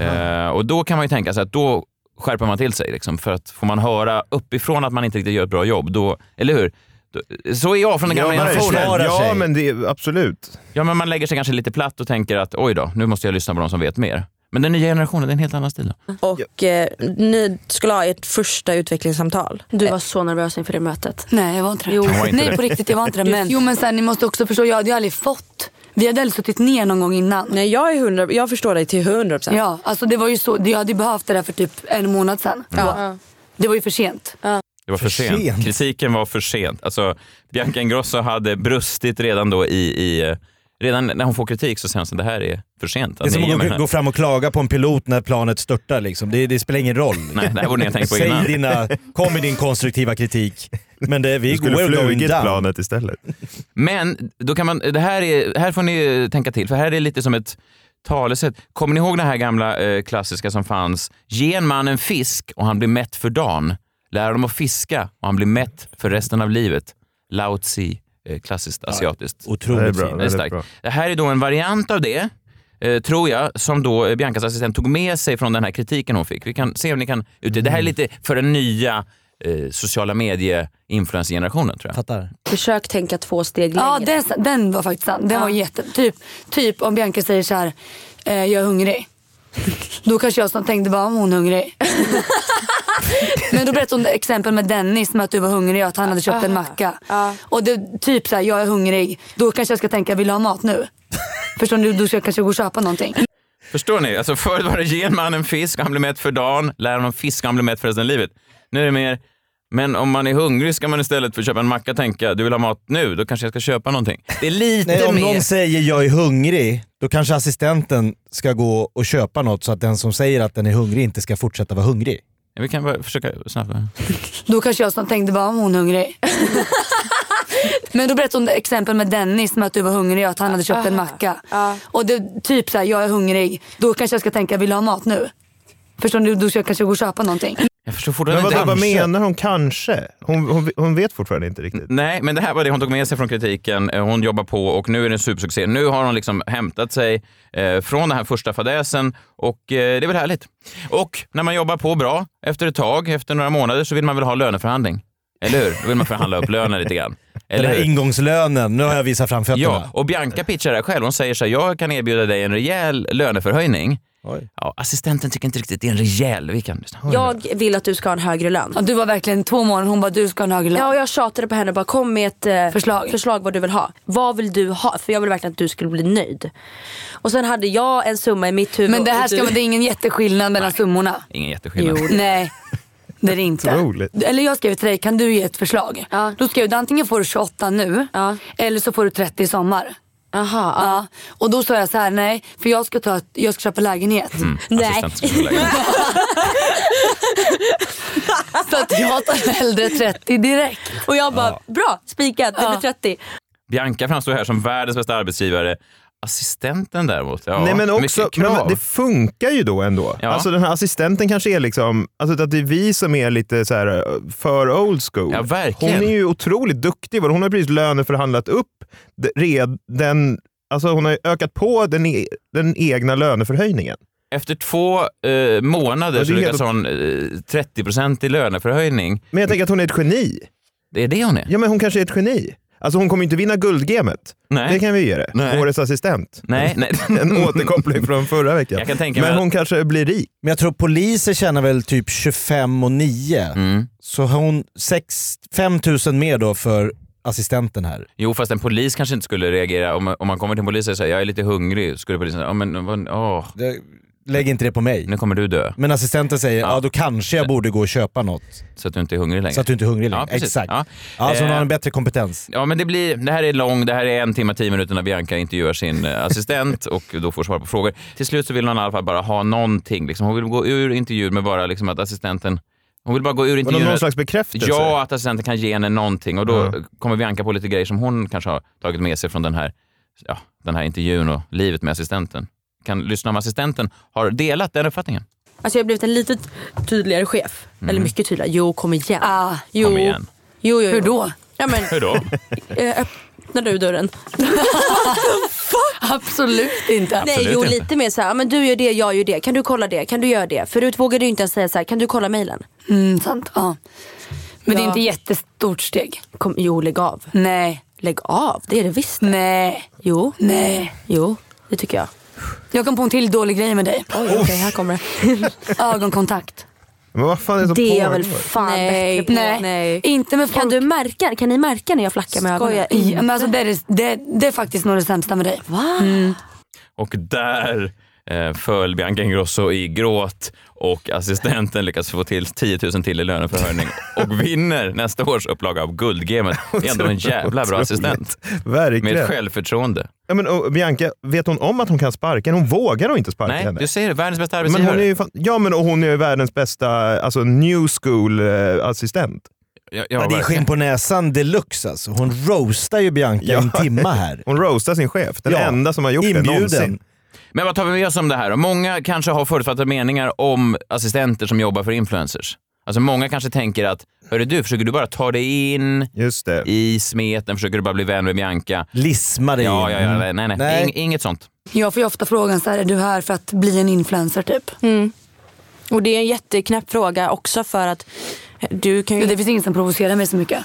S5: Eh, och då kan man ju tänka sig att då skärper man till sig. Liksom, för att får man höra uppifrån att man inte riktigt gör ett bra jobb, då, eller hur? Då- Så är jag från den gamla
S7: Ja, verkligen.
S5: generationen.
S7: ja
S8: sig.
S7: men det, är- absolut.
S5: Ja, men man lägger sig kanske lite platt och tänker att oj då, nu måste jag lyssna på de som vet mer. Men den nya generationen, det är en helt annan stil. Då.
S13: Och eh, ni skulle ha ert första utvecklingssamtal.
S6: Du var så nervös inför det mötet.
S9: Nej jag var inte det.
S6: Jo.
S5: var inte
S9: Nej
S5: det.
S9: på riktigt jag var inte det. Men... Jo men sen ni måste också förstå, jag hade ju aldrig fått. Vi hade aldrig suttit ner någon gång innan.
S13: Nej, jag, är 100, jag förstår dig till 100 procent.
S9: Ja alltså det var ju så, jag hade ju behövt det där för typ en månad sen. Det var ju för sent.
S5: Det var för,
S8: För
S5: sent.
S8: sent.
S5: Kritiken var för sent. Alltså, Bianca Ingrosso hade brustit redan då i, i... eh, Redan när hon får kritik så säger hon så det här är för sent. Alltså, Att
S8: Det är som
S5: ni ger mig den
S8: att gå-
S5: här.
S8: gå fram och klaga på en pilot när planet störtar. Liksom. Det, det spelar ingen roll. liksom.
S5: Nej, det här borde ni ha tänkt på innan.
S8: Säg dina, kom med din konstruktiva kritik. Men det, vi
S7: Vi skulle
S8: går going
S7: flugit
S8: down.
S7: planet istället.
S5: Men då kan man, det här, är, här får ni eh, tänka till, för här är lite som ett talesätt. Kommer ni ihåg den här gamla eh, klassiska som fanns? Ge en man en fisk och han blir mätt för dagen. Lär honom att fiska och han blir mätt för resten av livet. Lao Tzu, eh, klassiskt asiatiskt.
S7: Det är
S8: Otroligt
S7: bra.
S8: fint.
S5: Det är
S7: väldigt
S5: starkt.
S7: bra.
S5: Det här är då en variant av det, eh, tror jag, som då eh, Biancas assistent tog med sig från den här kritiken hon fick. Vi kan se om ni kan ut.
S7: Mm.
S5: Det här är lite för den nya eh, sociala medie-influencer-generationen tror jag.
S8: Fattar.
S6: Försök tänka två steg längre.
S9: Ja den, den var faktiskt sann. Den var jätte, typ, typ om Bianca säger så här, eh, jag är hungrig. Då kanske jag snart tänkte bara om hon är hungrig. Men då berättade hon det exempel med Dennis med att du var hungrig och att han hade köpt en macka. Och det, typ så här, jag är hungrig. Då kanske jag ska tänka, vill du ha mat nu? Förstår du? Då ska jag kanske gå och köpa någonting.
S5: Förstår ni? Alltså förut var det ge en man en fisk och han blir mätt för dagen, lär honom fiska och han blir mätt för resten av livet. Nu är det mer, men om man är hungrig ska man istället för att köpa en macka tänka, du vill ha mat nu, då kanske jag ska köpa någonting. Det är lite
S8: Nej, om
S5: mer...
S8: någon säger jag är hungrig, då kanske assistenten ska gå och köpa något så att den som säger att den är hungrig inte ska fortsätta vara hungrig.
S5: Vi kan bara försöka snabbt.
S9: Då kanske jag snart tänkte bara om hon är hungrig. Men då berättade hon det exempel med Dennis med att du var hungrig och att han hade köpt en macka. Och det, typ så här, jag är hungrig. Då kanske jag ska tänka, vill du ha mat nu? Förstår du? Då ska jag kanske gå och köpa någonting.
S5: Jag förstår
S7: Men
S5: fortfarande
S7: vad,
S5: inte.
S7: vad menar hon kanske? Hon, hon, hon vet fortfarande inte riktigt.
S5: Nej, men det här var det hon tog med sig från kritiken. Eh, Hon jobbar på och nu är det en supersuccé. Nu har hon liksom hämtat sig eh, från den här första fadäsen och eh, det är väl härligt. Och när man jobbar på bra efter ett tag, efter några månader, så vill man väl ha löneförhandling. Eller hur? Då vill man förhandla upp lönen lite grann. Eller
S8: Den här
S5: hur?
S8: ingångslönen, nu har jag visat fram fötterna.
S5: Ja, och Bianca pitchar det här själv. Hon säger så här, jag kan erbjuda dig en rejäl löneförhöjning.
S8: Oj.
S5: Ja, assistenten tycker inte riktigt det är en rejäl. Vi kan lyssna.
S6: Jag vill att du ska ha en högre lön.
S9: Och du var verkligen två månader, hon bara du ska ha en högre lön.
S6: Ja, och jag tjatade på henne bara kom med ett eh,
S9: Förslag.
S6: förslag vad du vill ha. Vad vill du ha? För jag vill verkligen att du skulle bli nöjd. Och sen hade jag en summa i mitt huvud.
S9: Men det här
S6: och
S9: ska man, det är ingen jätteskillnad mellan summorna.
S5: Ingen jätteskillnad.
S9: Nej. Det är det inte.
S7: Otroligt.
S9: Eller jag skrev till dig, kan du ge ett förslag? Då skrev du antingen får du 28 nu eller så får du 30 i sommar. Aha, ja. Och då sa jag så här, nej för jag ska, ta, ett- jag ska köpa lägenhet.
S5: Mm, Nej. assistent ska köpa lägenhet.
S9: så att jag tar hellre 30 direkt.
S6: Och jag bara, bra spikat, det blir 30.
S5: Bianca framstår här som världens bästa arbetsgivare. Assistenten däremot, ja,
S7: Nej, men också,
S5: mycket krav.
S7: men men det funkar ju då ändå.
S5: Ja.
S7: Alltså den här assistenten kanske är liksom, alltså att det är vi som är lite så här eh, för old school.
S5: Ja, verkligen.
S7: Hon är ju otroligt duktig. Hon har precis löneförhandlat upp d- red, den, alltså hon har ju ökat på den, e, den egna löneförhöjningen.
S5: Efter två eh, månader
S7: Ja,
S5: så
S7: det är
S5: lyckas
S7: helt-
S5: hon eh, 30 i löneförhöjning.
S7: Men jag tänker att hon är ett geni.
S5: Det är det hon är.
S7: Ja, men hon kanske är ett geni. Alltså hon kommer ju inte vinna guldgemet.
S5: Nej.
S7: Det kan vi ge det.
S5: Nej.
S7: Årets assistent.
S5: Nej, nej.
S7: En återkoppling från förra veckan.
S5: Jag kan tänka mig
S7: men
S5: att-
S7: hon kanske blir rik.
S8: Men jag tror poliser tjänar väl typ 25 och 9.
S5: Mm.
S8: Så har hon 6, 5 000 mer då för assistenten här.
S5: Jo, fast en polis kanske inte skulle reagera. Om, om man kommer till en polis och säger jag är lite hungrig, skulle polisen säga, "Ja, men, vad- åh,
S8: Lägg inte det på mig.
S5: nu kommer du dö.
S8: Men assistenten säger, ja, då kanske jag borde gå och köpa något.
S5: Så att du inte är hungrig längre.
S8: Så att du inte är hungrig längre.
S5: Ja, precis.
S8: Exakt.
S5: Ja.
S8: Ja. så hon
S5: Eh,
S8: har en bättre kompetens.
S5: Ja, men det, blir, det här är lång, det här är en timme, tio minuter när Bianca intervjuar sin eh, assistent och då får svara på frågor. Till slut så vill hon i alla fall bara ha någonting. Liksom, hon vill gå ur intervjun med bara liksom, att assistenten... Hon vill bara gå ur intervjun...
S7: någon slags bekräftelse?
S5: Ja, att assistenten kan ge henne någonting. Och då
S7: Ja.
S5: kommer Bianca på lite grejer som hon kanske har tagit med sig från den här, ja, den här intervjun och livet med assistenten. Kan lyssna om assistenten har delat den uppfattningen.
S6: Alltså jag har blivit en lite tydligare chef. Eller mycket tydligare. Jo, kom igen. jo.
S5: Kom igen.
S6: Jo, jo, jo. Hur då? Ja, men,
S5: Hur då?
S6: eh, öppnar du dörren?
S9: Absolut inte.
S6: Nej,
S5: Absolut
S6: jo
S5: inte.
S6: lite mer så här, "Ja, men du gör det, jag gör det. Kan du kolla det? Kan du göra det? Förut vågade du inte ens säga så här, kan du kolla mejlen?
S9: Mm, sant. Ja. Men det är inte
S6: jättestort steg. Kom, jo, lägg av.
S9: Nej.
S6: Lägg av, det är det visst. Nej. Jo.
S9: Nej.
S6: Jo, det tycker jag.
S9: Jag kom på en till dålig grej med dig.
S6: Oj, okej, här kommer
S9: det. Ögonkontakt.
S7: Men vad fan är det som
S6: Det är jag
S7: pågår?
S6: väl fan
S9: Nej,
S6: bättre på.
S9: nej. Inte med
S6: Kan du märka? Kan ni märka när jag flackar med ögonen?
S9: Skoja. Ja, men alltså, det, är, det- det, det är faktiskt nog det sämsta med dig. Mm.
S6: Va?
S5: Och där eh, föll Bianca Ingrosso i gråt och assistenten lyckas få till 10 000 till i löneförhöjning och vinner nästa års upplaga av Guldgemet. Det är ändå en jävla bra assistent. Med
S7: Verkligen.
S5: ett självförtroende.
S7: Ja, men, och Bianca, vet hon om att hon kan sparka henne? Hon vågar nog inte sparka
S5: Nej,
S7: henne.
S5: du säger det. Världens bästa
S7: Men
S5: arbetsgivare.
S7: hon är ju fan, ja, men och hon är ju världens bästa alltså, new eh, school-assistent.
S5: Ja,
S8: Ja, det är skinn på näsan deluxe alltså. Hon roastar ju Bianca i en timme här.
S7: Hon roastar sin chef. Den
S8: Ja.
S7: enda som har gjort det
S8: Inbjuden.
S7: någonsin.
S5: Men vad tar vi med oss om det här då? Många kanske har förutfattade meningar om assistenter som jobbar för influencers. Alltså många kanske tänker att, hörru du, försöker du bara ta dig in
S7: Just det.
S5: i smeten, försöker du bara bli vän med Bianca?
S8: Lisma dig
S5: Ja,
S8: in.
S5: ja, ja, nej, nej.
S8: Nej.
S5: Ing, inget sånt.
S9: Jag får ju ofta frågan så här, är du här för att bli en influencer typ?
S10: Och det är en jätteknäpp fråga också för att
S6: eh,
S10: du kan ju...
S9: Det finns ingen som provocerar mig så mycket.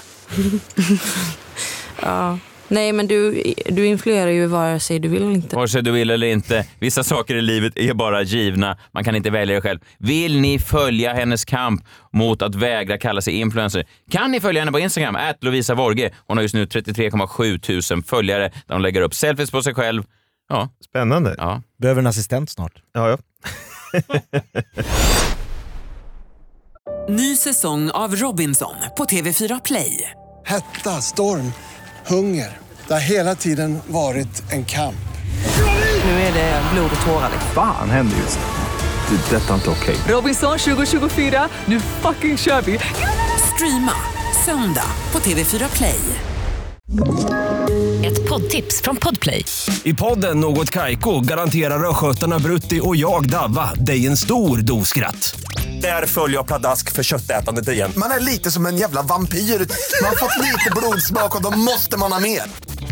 S10: ja. Nej men du, du influerar ju vare sig du vill eller inte.
S5: Vare sig du vill eller inte, vissa saker i livet är bara givna. Man kan inte välja det själv. Vill ni följa hennes kamp mot att vägra kalla sig influencer? Kan ni följa henne på Instagram? Ät Lovisa Vorge. Hon har just nu 33,7 tusen följare där hon lägger upp selfies på sig själv. Ja,
S7: Spännande.
S5: ja.
S8: Mm. Behöver en assistent snart.
S7: Ja, ja.
S1: Ny säsong av Robinson på TV4 Play.
S2: Hetta, storm, hunger. Det har hela tiden varit en kamp.
S1: Nu är det blod och tårar. liksom.
S3: Fan händer just det. Det är detta inte okej.
S1: Robinson 2024, nu fucking kör vi! Streama söndag på TV4 Play.
S14: Ett poddtips från Podplay.
S15: I podden Något Kaiko garanterar östgötarna Brutti och jag, Davva, dig en stor dos skratt. Där följer jag pladask för köttätandet igen.
S16: Man är lite som en jävla vampyr. Man har fått lite blodsmak och då måste man ha mer.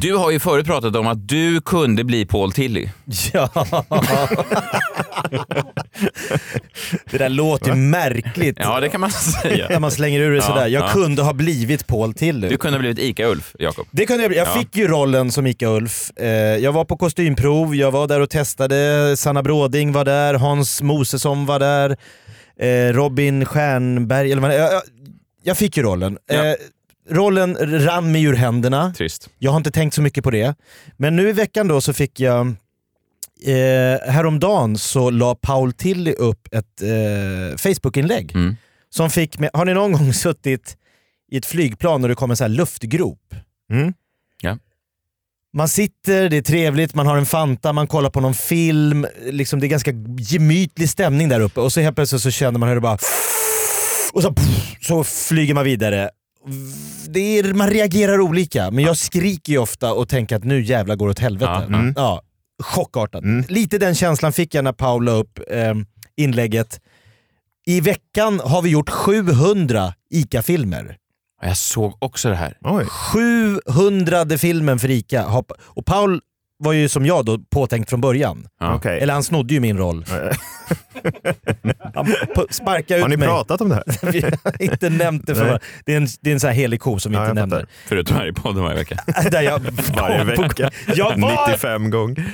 S5: Du har ju förut pratat om att du kunde bli Paul Tilly.
S8: Ja. Det där låter ju märkligt.
S5: Ja, det kan man säga.
S8: När man slänger ur det
S5: Ja,
S8: sådär. Jag
S5: ja.
S8: kunde ha blivit Paul Tilly.
S5: Du kunde ha blivit ICA-Ulf, Jakob.
S8: Det kunde jag bli. Jag
S5: Ja.
S8: fick ju rollen som Ica-Ulf. Eh, jag var på kostymprov, jag var där och testade. Sanna Bråding var där, Hans Mosesson var där, eh, Robin Stjernberg, eller vad det- jag, jag- jag fick ju rollen. Eh, rollen rann mig ur händerna.
S5: Trist.
S8: Jag har inte tänkt så mycket på det. Men nu i veckan då så fick jag Eh, häromdagen så la Paul Tilly upp ett eh, Facebook-inlägg. Som fick med, har ni någon gång suttit i ett flygplan och det kommer så här luftgrop?
S5: Ja.
S8: Man sitter, det är trevligt, man har en Fanta, man kollar på någon film. Liksom, det är ganska gemytlig stämning där uppe och så helt plötsligt så känner man hur det bara... Och så, så flyger man vidare. Det är, man reagerar olika, men jag skriker ju ofta och tänker att nu jävla går det åt helvete.
S7: Ja,
S8: Ja,
S7: mm.
S8: chockartat. Lite den känslan fick jag när Paul la upp eh, inlägget. I veckan har vi gjort 700 ICA-filmer.
S5: Jag såg också det här.
S8: 700 filmen för ICA. har- Och Paul var ju som jag då påtänkt från början.
S7: Ja. Okej.
S8: Eller han snodde ju min roll. han p- sparkade ut
S7: Har ni
S8: mig.
S7: pratat om det här?
S8: Vi har inte nämnt det för
S7: Nej.
S8: varandra. det är en, det är en så här helig ko som vi inte nämner.
S5: Förutom här i podden varje vecka.
S8: Där jag
S7: Varje vecka.
S8: Jag var...
S7: 95 gånger.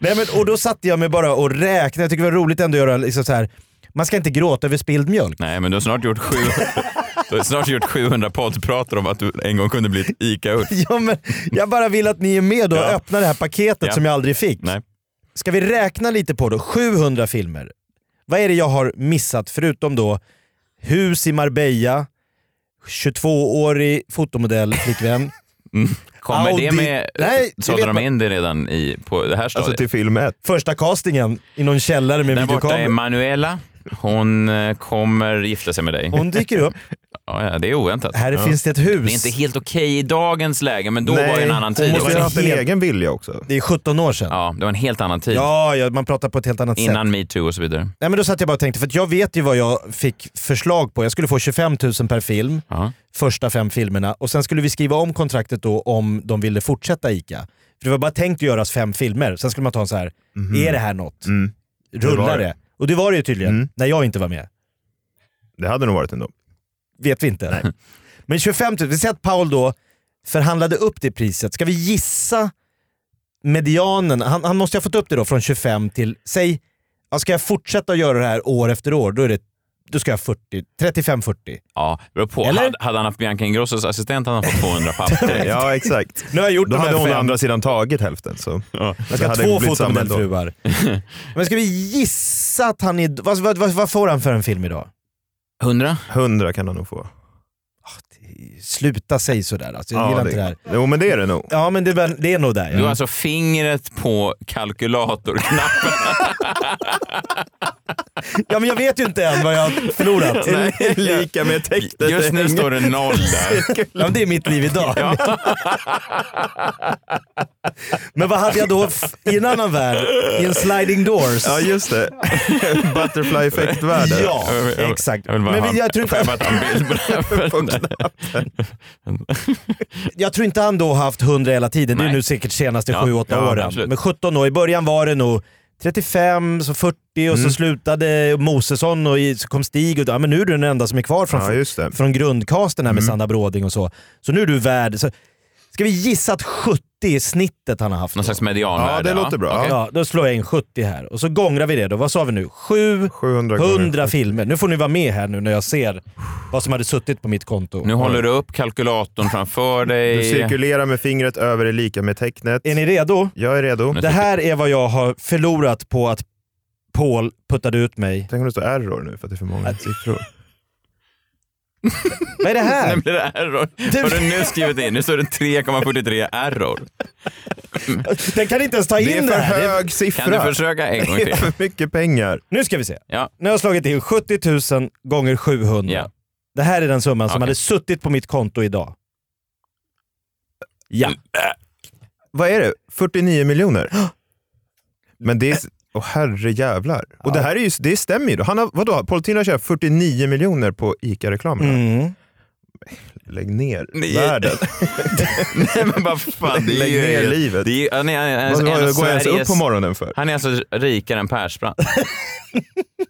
S8: Nej, men, och då satte jag mig bara och räknade. Jag tycker det var roligt ändå att göra liksom så här. man ska inte gråta över spilld mjölk.
S5: Nej, men du har snart gjort, sju... du har snart gjort 700 poddprater om att du en gång kunde bli ett ICA-urt.
S8: Ja, men jag bara vill att ni är med och
S5: Ja.
S8: öppnar det här paketet
S5: Ja.
S8: som jag aldrig fick.
S5: Nej.
S8: Ska vi räkna lite på då? 700 filmer. Vad är det jag har missat förutom då hus i Marbella, 22-årig fotomodell, flickvän.
S5: Kommer
S8: Audi-
S5: det med...
S8: Nej, det
S5: sålde
S8: vet Alltså, typ,
S5: de
S8: man-
S5: in det redan i, på det här stadiet?
S7: Alltså,
S8: film 1. Första castingen i någon källare med
S5: Där borta är
S8: videokamera.
S5: Manuela. Hon eh, kommer gifta sig med dig.
S8: Hon dyker upp.
S5: Ja, ja, det är oväntat.
S8: Här
S5: ja.
S8: finns det ett hus.
S5: Det är inte helt okej i dagens läge, men då var det en annan tid.
S8: hon
S5: Det var
S8: måste
S5: en
S8: ha haft en
S5: helt-
S8: egen vilja också. Det är 17 år sedan.
S5: Ja, det var en helt annan tid.
S8: Ja, ja, man pratar på ett helt annat sätt.
S5: Innan metoo och så vidare.
S8: Nej, men då satt jag bara och tänkte, för att jag vet ju vad jag fick förslag på. Jag skulle få 25 000 per film, första fem filmerna. Och sen skulle vi skriva om kontraktet då om de ville fortsätta ICA. För det var bara tänkt att göras fem filmer, sen skulle man ta en så här,
S7: Mhm.
S8: är det här något?
S7: Mm.
S8: Rullar det? Och det var det ju tydligen, när jag inte var med.
S7: Det hade nog varit ändå.
S8: Vet vi inte. Men 25 000, vi säger att Paul då förhandlade upp det priset. Ska vi gissa medianen? Han, han måste ju ha fått upp det då från 25 till, säg, ja, ska jag fortsätta göra det här år efter år, då, är det, då ska jag 40, 35-40.
S5: Ja, det beror på. Hade, hade han haft Bianca Ingrossos assistent hade han fått 200 papper direkt.
S7: ja, exakt.
S8: Nu har jag gjort
S7: Då
S8: de här
S7: hade hon å
S8: fem.
S7: andra sidan tagit hälften. Så.
S8: Jag ska ha två fotomodellfruar. Men ska vi gissa att han är... Vad, vad, vad, vad får han för en film idag?
S5: 100?
S7: 100 kan han nog få.
S8: Sluta säg sådär. Alltså, jag gillar
S7: det,
S8: inte det här.
S7: Jo, men det är det nog.
S8: Ja, men det, är väl- det är nog där.
S5: Du har
S8: Ja.
S5: alltså fingret på kalkylatorknappen.
S8: ja, men jag vet ju inte än vad jag har förlorat.
S5: Nej.
S7: Lika med täckte.
S5: Just nu står det noll där.
S8: ja, men det är mitt liv idag. men vad hade jag då f- i en annan värld? I en sliding doors?
S7: Ja, just det. Butterfly effekt-världen.
S8: Ja, exakt.
S5: Jag vill bara
S8: Men
S5: ha-
S8: vi- jag tror inte-
S5: jag vill bara ta en bild på den här.
S8: Jag tror inte han då har haft 100 hela tiden. Det är nu säkert senaste
S5: Ja,
S8: 7-8
S5: ja,
S8: åren.
S5: absolut.
S8: Men 17 år. I början var det nog 35, så 40 och
S5: Mm.
S8: så slutade Mosesson och i- så kom Stig. Och, ja, men nu är du den enda som är kvar från,
S7: Ja, just det.
S8: från grundcasten
S5: Mm.
S8: här med Sandra Bråding och så. Så nu är du värd. Så, ska vi gissa att 70 är snittet han har haft?
S5: Någon slags medianvärde.
S7: Ja, det låter bra.
S5: Okej.
S8: Ja, då slår jag in 70 här. Och så gångrar vi det då. Vad sa vi nu? 700
S7: gånger.
S8: filmer. Nu får ni vara med här nu när jag ser vad som hade suttit på mitt konto.
S5: Nu håller du upp kalkylatorn framför
S7: Du
S5: dig.
S7: cirkulerar med fingret över det lika med tecknet.
S8: Är ni redo?
S7: Jag är redo.
S8: Det här är vad jag har förlorat på att Paul puttade ut mig.
S7: Tänk om det står error nu för att det är för många siffror.
S8: Vad är det här?
S5: Nu blir det error.
S8: Du-
S5: Har du nu skrivit in? Nu står det 3,43 error.
S8: Den kan inte ens ta in
S7: Det är för
S8: det här. Det är-
S7: hög siffra.
S5: Kan du försöka en gång
S7: Det är
S5: till?
S7: för mycket pengar.
S8: Nu ska vi se.
S5: Ja.
S8: Nu har jag slagit in 70 000 gånger 700.
S5: Ja.
S8: Det här är den summan som
S5: Okej.
S8: hade suttit på mitt konto idag. Ja.
S7: Vad är det? 49 miljoner? Men det är... Åh herre jävlar. Och det här är ju, det stämmer ju. då. Han har, vadå, Politina tjänar 49 miljoner på ICA-reklamerna.
S8: Mm.
S7: Lägg ner
S5: Nej.
S7: världen.
S5: Nej men vad fan. Det är
S7: Lägg
S5: ju,
S7: ner livet.
S5: Det är, ju- han är, han är,
S7: Vad
S5: alltså, en av
S7: vad går jag ens upp
S5: Sveriges-
S7: på morgonen för?
S5: Han är alltså rikare än Persbrandt.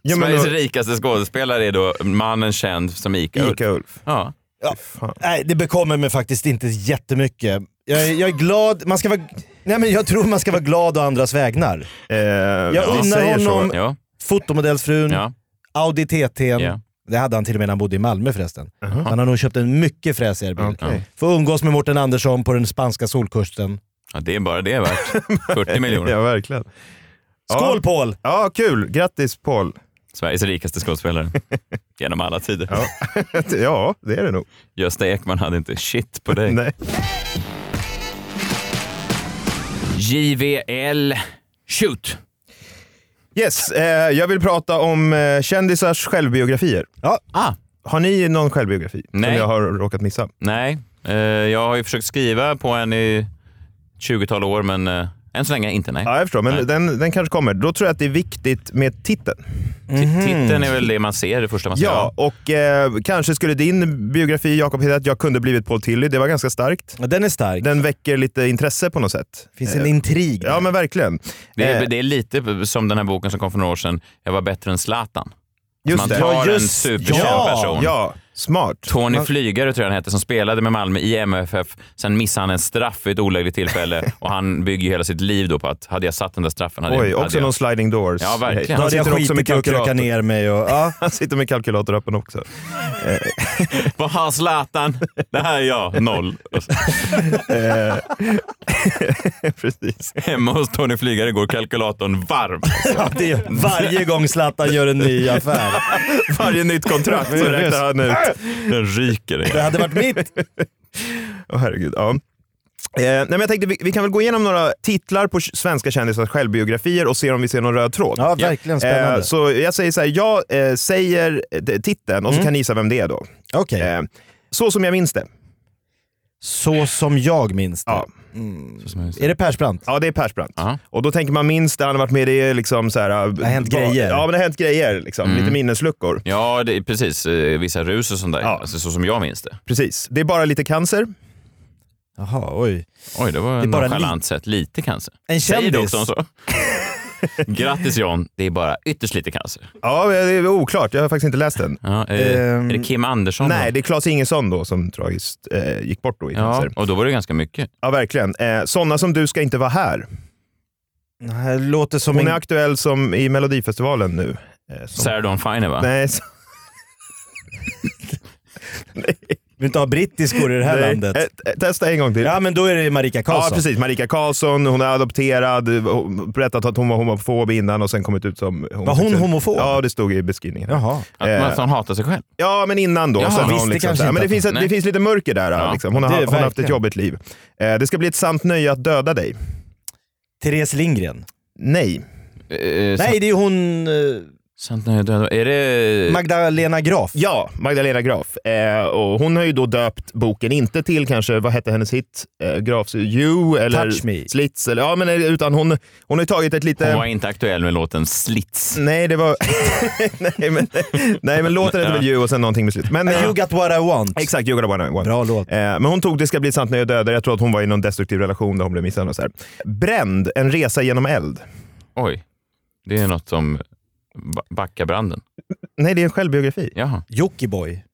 S7: Ja, men
S5: Sveriges
S7: då-
S5: rikaste skådespelare är då mannen känd som Ica-Ulf.
S7: Ica-Ulf.
S5: Ja.
S8: Ja. Nej, det bekommer mig faktiskt inte jättemycket. Jag, är- jag är glad, man ska vara... Nej men jag tror man ska vara glad å andras vägnar.
S7: Eh,
S8: Jag
S7: vi
S8: unnar
S7: säger så.
S8: honom
S5: Ja.
S8: fotomodellsfrun,
S5: Ja.
S8: Audi TT'n,
S5: Ja.
S8: Det hade han till och med när han bodde i Malmö förresten. Han har nog köpt en mycket fräsigare bil. Får umgås med Mårten Andersson på den spanska solkusten.
S5: Ja, det är bara det värt. 40 miljoner.
S7: Ja, verkligen.
S8: Skål Paul!
S7: Ja, kul. Grattis Paul.
S5: Sveriges rikaste skådespelare. Genom alla tider.
S7: Ja. ja, det är det nog.
S5: Gösta Ekman hade inte shit på dig.
S7: Nej.
S5: JVL Shoot.
S7: Yes, eh, jag vill prata om eh, kändisars självbiografier.
S5: Ja. Ah.
S7: Har ni någon självbiografi
S5: Nej.
S7: som jag har råkat missa?
S5: Nej, eh, jag har ju försökt skriva på en i 20-tal år, men eh, än så länge inte. Nej.
S7: Ja, jag förstår, men den, den kanske kommer. Då tror jag att det är viktigt med titeln.
S5: Ti- Titeln är väl det man ser, det första man ser.
S7: Ja, och eh, kanske skulle din biografi Jakob heta att jag kunde blivit Paul Tilly. Det var ganska starkt.
S8: den är stark.
S7: Den väcker lite intresse på något sätt. Eh,
S8: Finns en intrig.
S7: Ja, men verkligen.
S5: Det
S7: Eh,
S5: är, det är lite som den här boken som kom för några år sedan, Jag var bättre än Zlatan.
S7: Just
S5: man
S7: det.
S5: tar
S7: Ja,
S5: en
S7: just-
S5: superkänd
S7: ja,
S5: person.
S7: ja, smart.
S5: Tony
S7: Man-
S5: Flygare tror jag han hette, som spelade med Malmö i MFF. Sen missade han en straff vid ett olägligt tillfälle och han bygger ju hela sitt liv då på att hade jag satt den där straffen hade
S7: Oj,
S5: jag...
S7: också
S5: hade
S7: någon
S5: jag...
S7: sliding doors.
S5: Ja, verkligen.
S7: Hej.
S5: Då
S8: hade jag
S7: sitter också
S8: skitit
S7: med
S8: i att kröka
S7: kalkylator.
S8: ner mig och- ja.
S7: Han sitter med kalkylator öppen också.
S5: Vad har Zlatan? Det här är jag, noll.
S7: Eh, Precis.
S5: Hemma hos Tony Flygare går kalkylatorn varm.
S8: Ja, det är varje gång Zlatan gör en ny affär.
S5: Varje nytt kontrakt så räknar han ut. Den ryker.
S8: Det hade varit mitt.
S7: Åh herregud, ja. Eh, nej men jag tänkte vi, vi kan väl gå igenom några titlar på k- svenska kändisars självbiografier och se om vi ser någon röd tråd.
S8: Ja, verkligen spännande.
S7: Eh, så jag säger så här, jag eh, säger eh, titeln
S8: Mm.
S7: och så kan ni gissa vem det är då.
S8: Okej.
S7: Eh, så som jag minns det.
S8: Så som jag minns det. Mm. Är det Persbrandt?
S7: Ja, det är Persbrandt. Och då tänker man minst det, han har varit med i liksom så här... Det
S8: har hänt grejer. Mm.
S7: Ja, men det har hänt grejer. Liksom. Lite minnesluckor.
S5: Ja, det är precis. eh, Vissa rus och sånt där. Alltså, så som jag minns det.
S7: Precis. Det är bara lite cancer.
S8: Jaha, oj.
S5: Oj, det var
S8: Det är bara
S5: nonchalant sett. Lite cancer.
S8: En
S5: Säger
S8: kändis.
S5: doktorn så? Grattis John, det är bara ytterst lite cancer.
S7: Ja, eh, det är oklart. Jag har faktiskt inte läst den.
S5: Ja, eh,
S7: Ehm,
S5: är det Kim Andersson?
S7: Nej,
S5: då?
S7: det är Claes Ingesson då som tragiskt eh, gick bort då i
S5: ja,
S7: cancer.
S5: och då var det ganska mycket.
S7: Ja, verkligen. Eh, Sådana som du ska inte vara här.
S8: Det här låter som
S7: Hon
S8: en...
S7: är aktuell som i Melodifestivalen nu. Eh, som-
S5: Sarah Dawn Finer va?
S7: Nej, så...
S8: vill inte ha brittiskor i det här
S7: Nej.
S8: landet.
S7: Eh, eh, Testa en gång till.
S8: Ja men då är det Marika
S7: Ja,
S8: Karlsson.
S7: precis. Marika Karlsson, hon är adopterad, hon berättat att hon var homofob innan och sen kommit ut som homosexuell.
S8: hon homofob?
S7: Ja, det stod i beskrivningen.
S8: Jaha.
S5: Att
S7: Eh.
S5: man, att hon hatar sig själv.
S7: Ja, men innan då.
S5: Jaha.
S7: sen har
S8: Visst,
S7: hon
S8: det
S7: liksom,
S8: kanske
S7: så här,
S8: inte
S7: men det
S8: att-
S7: finns, ett,
S5: nej.
S7: det finns lite mörker där.
S5: Ja,
S7: Liksom. Hon, har,
S8: det är
S7: hon har haft ett
S8: verkligen.
S7: jobbigt liv. Eh, det ska bli ett sant nöje att döda dig.
S8: Therese Lindgren.
S7: Nej.
S5: Eh, sant-
S8: Nej det är hon eh,
S5: sant när jag dödar- Är det...
S8: Magdalena Graf.
S7: Ja, Magdalena Graf. Eh, och hon har ju då döpt boken, inte till kanske, vad hette hennes hit? Eh, Grafs You eller
S8: Touch Me.
S7: Slits. Eller, ja, men, eh, utan hon, hon har ju tagit ett lite...
S5: Hon var inte aktuell med låten Slits.
S7: Nej, det var... nej, men, nej, men låten heter väl You och sen någonting med slit. Men, eh,
S8: You got what I want.
S7: Exakt, You got a one, one.
S8: Bra låt.
S7: Eh, men hon tog Det ska bli ett sant när jag dödar. Jag tror att hon var i någon destruktiv relation där hon blev misshandlad. och Så här. Bränd, en resa genom eld.
S5: Oj, det är något om Ba- Backabranden.
S7: Nej, det är en självbiografi.
S5: Jaha.
S8: Jockiboi.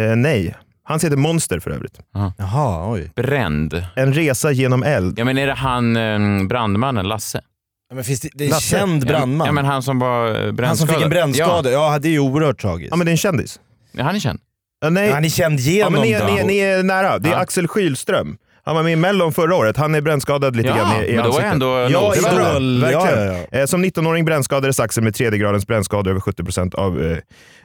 S7: Eh, nej. Han heter Monster för övrigt.
S8: Jaha, oj.
S5: Bränd.
S7: En resa genom eld.
S5: Ja, men är det han eh, brandmannen Lasse?
S8: Ja, men finns det, det är en
S7: Lasse.
S8: känd brandman.
S5: Ja, men han som var eh, brännskadad.
S8: han som fick en brännskada. Ja. det är ju oerhört tragiskt.
S7: Ja, men det är en kändis.
S5: Ja, han är känd.
S7: Eh, nej.
S8: Han är känd
S7: ja,
S8: genom
S7: men ni,
S8: det.
S7: ni, ni är nära. Det är
S5: Ja.
S7: Axel Skylström. Han var med i Mellon förra året. Han är brännskadad lite
S5: Ja,
S7: grann i, i
S5: men då var jag
S7: ansiktet.
S5: ändå
S7: Ja,
S5: något.
S7: det var bra.
S8: Idol.
S7: Verkligen.
S8: Ja, ja,
S7: Eh, Som 19-åring brännskadades Axel med tredje gradens brännskador över 70 procent av, eh,